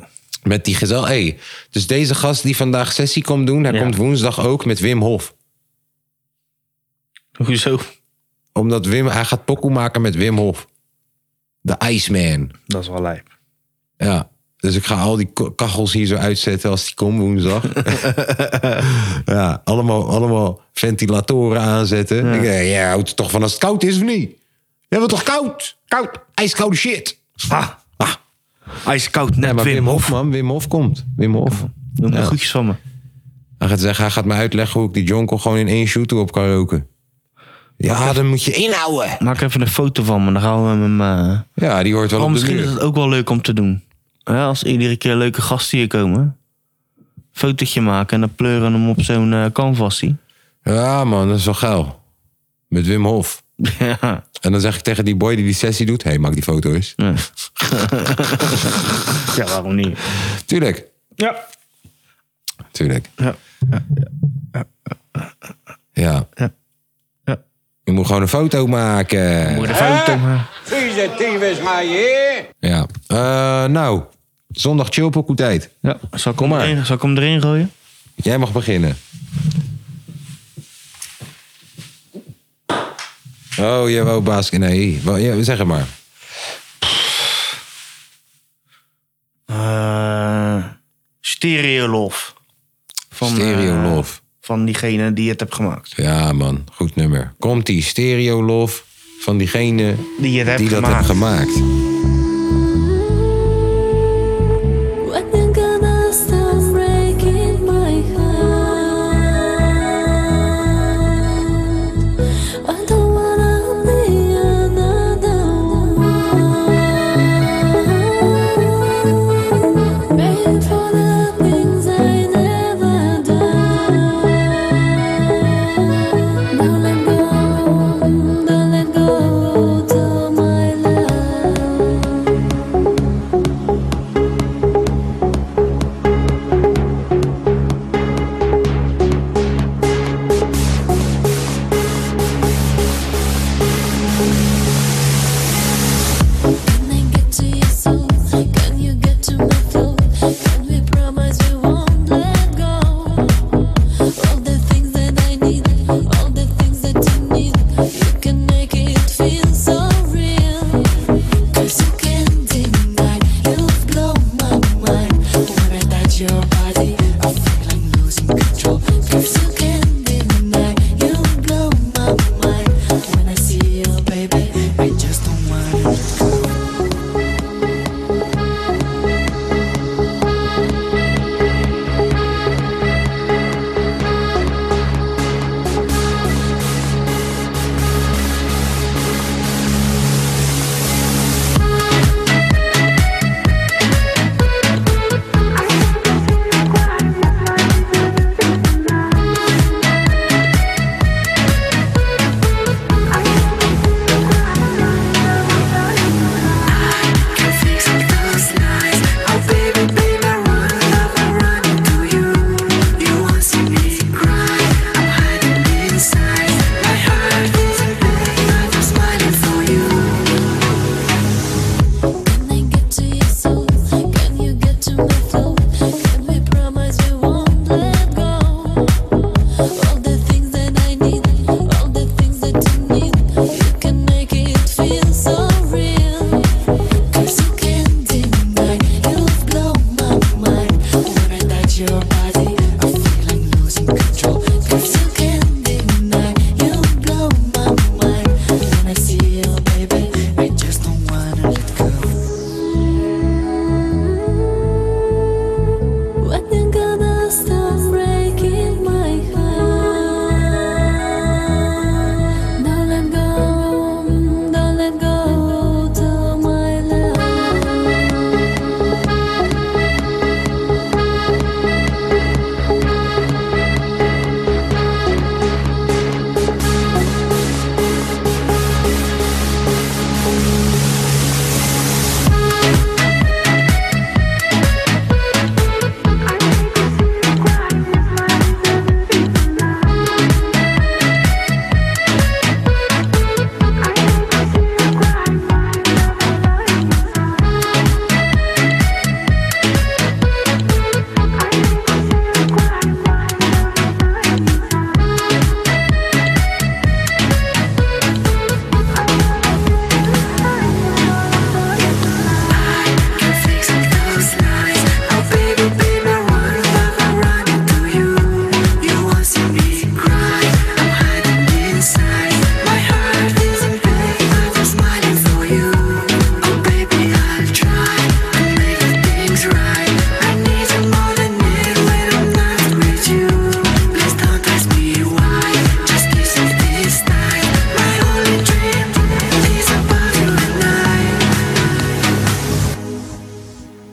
Met die gezel. Hey, dus deze gast die vandaag sessie komt doen, hij Ja. komt woensdag ook met Wim Hof. Hoezo? Omdat Wim, hij gaat pokoe maken met Wim Hof. De Iceman. Dat is wel lijp. Ja. Dus ik ga al die ko- kachels hier zo uitzetten als die komt woensdag. ja, allemaal, allemaal ventilatoren aanzetten. Ik denk, ja, houdt het toch van als het koud is of niet? We hebben het toch koud? Koud, ijskoude shit. Ah, Ah, ijskoud, net nee, maar Wim, Wim. Hof, man. Wim Hof komt. Wim Hof. Doe maar Ja. groetjes van me. Hij gaat zeggen, hij gaat me uitleggen hoe ik die jonkel gewoon in één shooter op kan roken. Ja, dan moet je inhouden. Maak even een foto van me, dan gaan we hem... eh, Ja, die hoort wel Oh, op de misschien muur. is het ook wel leuk om te doen. Ja, als iedere keer leuke gasten hier komen. Fotootje maken en dan pleuren we hem op zo'n eh canvasie. Ja, man, dat is wel geil. Met Wim Hof. ja. En dan zeg ik tegen die boy die die sessie doet... hey, maak die foto eens. ja, waarom niet? Tuurlijk. Ja. Tuurlijk. Ja. Ja. Ja. Ja. Je moet gewoon een foto maken. Moet je de foto maken? Vieze tyfus, maar je. Ja. Eh, nou, zondag chillpokoe tijd. Ja. Zal ik, hem maar. erin, zal ik hem erin gooien? Jij mag beginnen. Oh, je wou baas... Nee, wel- ja, zeg het maar. Eh Stereolof. Van, eh, Stereolof. van diegene die het hebt gemaakt. Ja, man. Goed nummer. Komt die stereolof van diegene Die het hebt die dat gemaakt. heeft gemaakt. When I'm gonna stop breaking my heart I don't wanna be another one Made for the things I never done Don't let go, don't let go to my love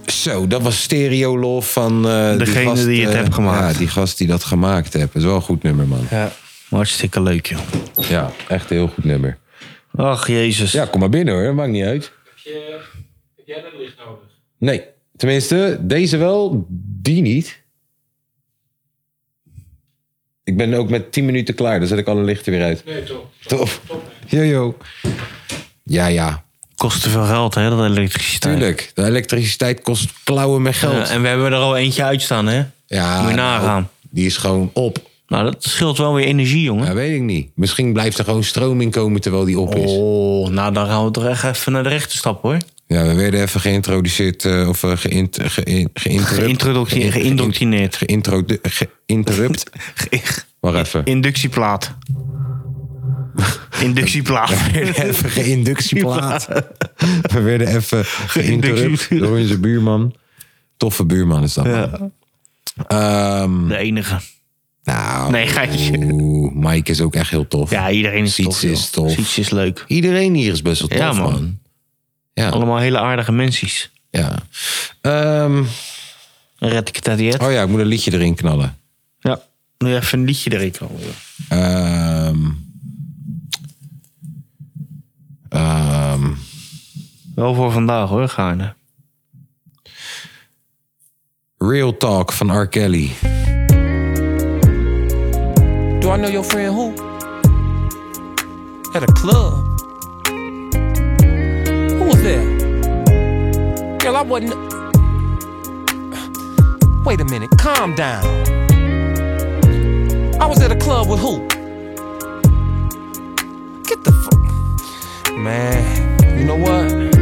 Zo, dat was Stereo Love van... eh, Degene die het eh, hebt gemaakt. Ja, die gast die dat gemaakt heeft. Dat is wel een goed nummer, man. Ja. Hartstikke leuk, joh. Ja, echt een heel goed nummer. Ach, jezus. Ja, kom maar binnen hoor, maakt niet uit. Heb, jij een licht nodig? Nee, tenminste, deze wel, die niet. Ik ben ook met 10 minuten klaar, dan zet ik alle lichten weer uit. Nee, top. Top. Jojo. Ja, ja, Kost te veel geld, hè, dat elektriciteit. tuurlijk. De elektriciteit kost klauwen met Ja, geld. en we hebben er al eentje uitstaan, hè? Ja, nou, Moet je nagaan. die is gewoon op. Nou, dat scheelt wel weer energie, jongen. Ja, weet ik niet. Misschien blijft er gewoon stroom in komen terwijl die op is. Oh, nou, dan gaan we toch echt even naar de rechter stappen, hoor. Ja, we werden even geïntroduceerd eh, of eh, geïnt, geïn- geïnterrupt. Geïntroductie- Geïndoctrineerd. Geïntro, geïnterrupt. Wacht even. Inductieplaat. Inductieplaat. even geïnductieplaat. We werden even geïnterrupt door onze buurman. Toffe buurman is dat. Ja. Ehm, De enige. nou, Nee, geitje. oeh, Mike is ook echt heel tof. Ja, iedereen is Siets tof. joh. is tof. Siets is leuk. Iedereen hier is best wel tof, Ja, man. man. Ja, Allemaal hele aardige mensjes. ja. Ehm, Red ik het uit die het? oh ja, ik moet een liedje erin knallen. Ja. Nu even een liedje erin komen. joh. Ehm, ehm, Wel voor vandaag hoor, Gaarne. Real Talk van R. Kelly. Do I know your friend who? At a club. Who was there? Girl, I wasn't. Wait a minute, calm down. I was at a club with who? Get the fuck. Man, you know what?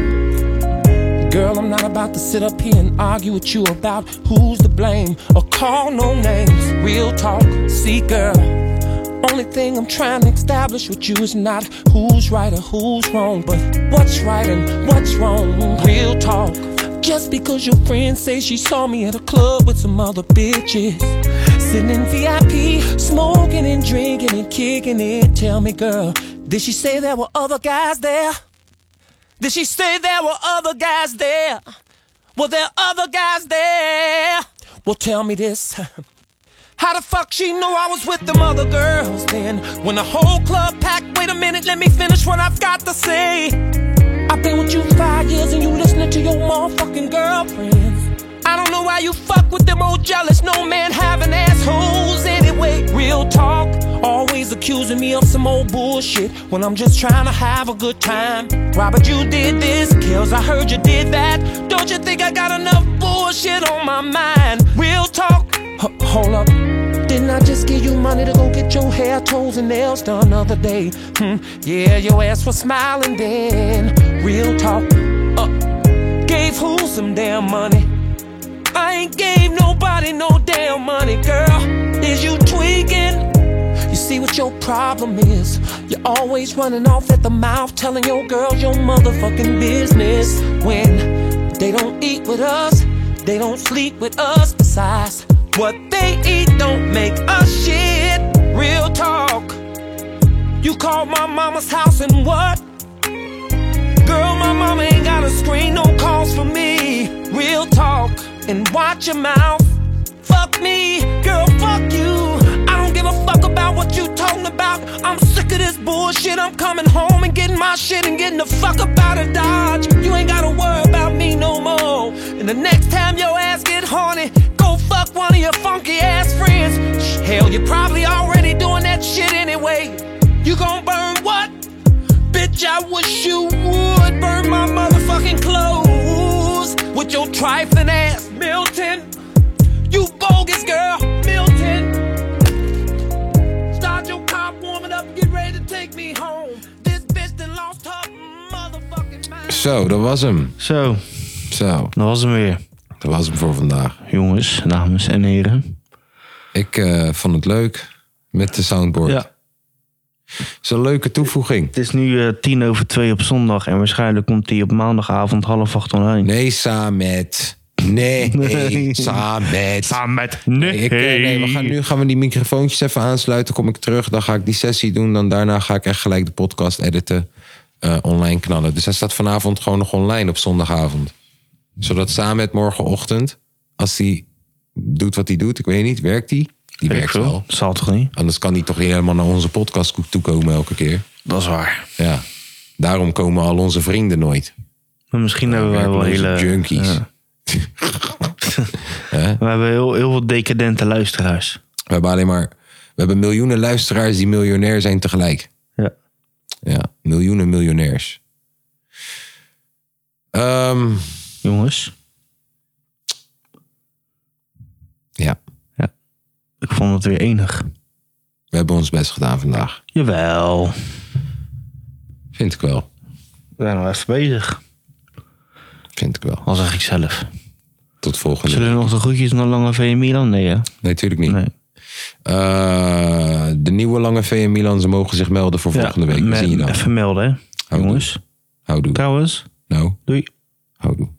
Girl, I'm not about to sit up here and argue with you about who's to blame or call no names. Real talk, see, girl. Only thing I'm trying to establish with you is not who's right or who's wrong, but what's right and what's wrong. Real talk. Just because your friend says she saw me at a club with some other bitches. Sitting in VIP, smoking and drinking and kicking it. Tell me, girl, did she say there were other guys there? Did she say there were other guys there? Were there other guys there? Well, tell me this. How the fuck she knew I was with them other girls then? When the whole club packed, wait a minute, let me finish what I've got to say. I've been with you five years and you listening to your motherfucking girlfriends. I don't know why you fuck with them old jealous, no man having assholes anyway. Real talk, always accusing me of some old bullshit when I'm just trying to have a good time. Robert, you did this, Kills, I heard you did that. Don't you think I got enough bullshit on my mind? Real talk, H- hold up. Didn't I just give you money to go get your hair, toes, and nails done the other day? Hmm, yeah, your ass was smiling then. Real talk. Uh, gave who some damn money? I ain't gave nobody no damn money, girl. Is you tweaking? You see what your problem is. You're always running off at the mouth, telling your girls your motherfucking business. When they don't eat with us, they don't sleep with us. Besides, what they eat don't make us shit. Real talk. You called my mama's house and what? Girl, my mama ain't got a screen, no calls for me. Real talk and watch your mouth. Fuck me, girl, fuck you. I don't give a fuck about what you talking about. I'm sick of this bullshit. I'm coming home and getting my shit and getting the fuck up out of Dodge. You ain't gotta worry about me no more. And the next time your ass get horny, go fuck one of your funky ass friends. Shh, Hell, you're probably already doing that shit anyway. You gon' burn what? Bitch, I wish you would burn my motherfucking clothes with your trifling ass, Milton. You bogus girl, Milton. Start your car warming up, get ready to take me home. This bitch done lost her motherfucking mind. Zo, dat was hem. Zo, Zo, dat was hem weer. dat was hem voor vandaag. Jongens, dames en heren. Ik eh, vond het leuk met de soundboard. Ja. is een leuke toevoeging. Het is nu eh, tien over twee op zondag. En waarschijnlijk komt hij op maandagavond half acht online. Nee, Samet. Nee, Nee. Samet. Samen met nee. Nee, ik, eh, nee, we gaan nu gaan we die microfoontjes even aansluiten. Kom ik terug, dan ga ik die sessie doen. Dan daarna ga ik echt gelijk de podcast editen, eh, online knallen. Dus hij staat vanavond gewoon nog online op zondagavond. Zodat Samet morgenochtend, als hij doet wat hij doet, ik weet niet, werkt hij? Die werkt wel. Zal toch niet? Anders kan hij toch niet helemaal naar onze podcast toekomen elke keer. Dat is waar. Ja. Daarom komen al onze vrienden nooit. Maar misschien hebben wij wel werkloze hele... junkies. ja. we hebben heel, heel veel decadente luisteraars. We hebben alleen maar. We hebben miljoenen luisteraars die miljonair zijn tegelijk. Ja. Ja, miljoenen miljonairs. Ehm, Jongens. ja, Ik vond het weer enig. we hebben ons best gedaan vandaag. Jawel. Vind ik wel. We zijn nog even bezig. Vind ik wel. Al zeg ik zelf. Tot volgende Zullen er nog de groetjes naar Lange V Milan? Nee, hè? Nee, natuurlijk niet. Nee. Eh, de nieuwe lange VM Milan, ze mogen zich melden voor volgende week. me- We zien je dan. Even melden, hè? Houdoe. Jongens. Houdoe. Trouwens. Nou, Doei. houdoe.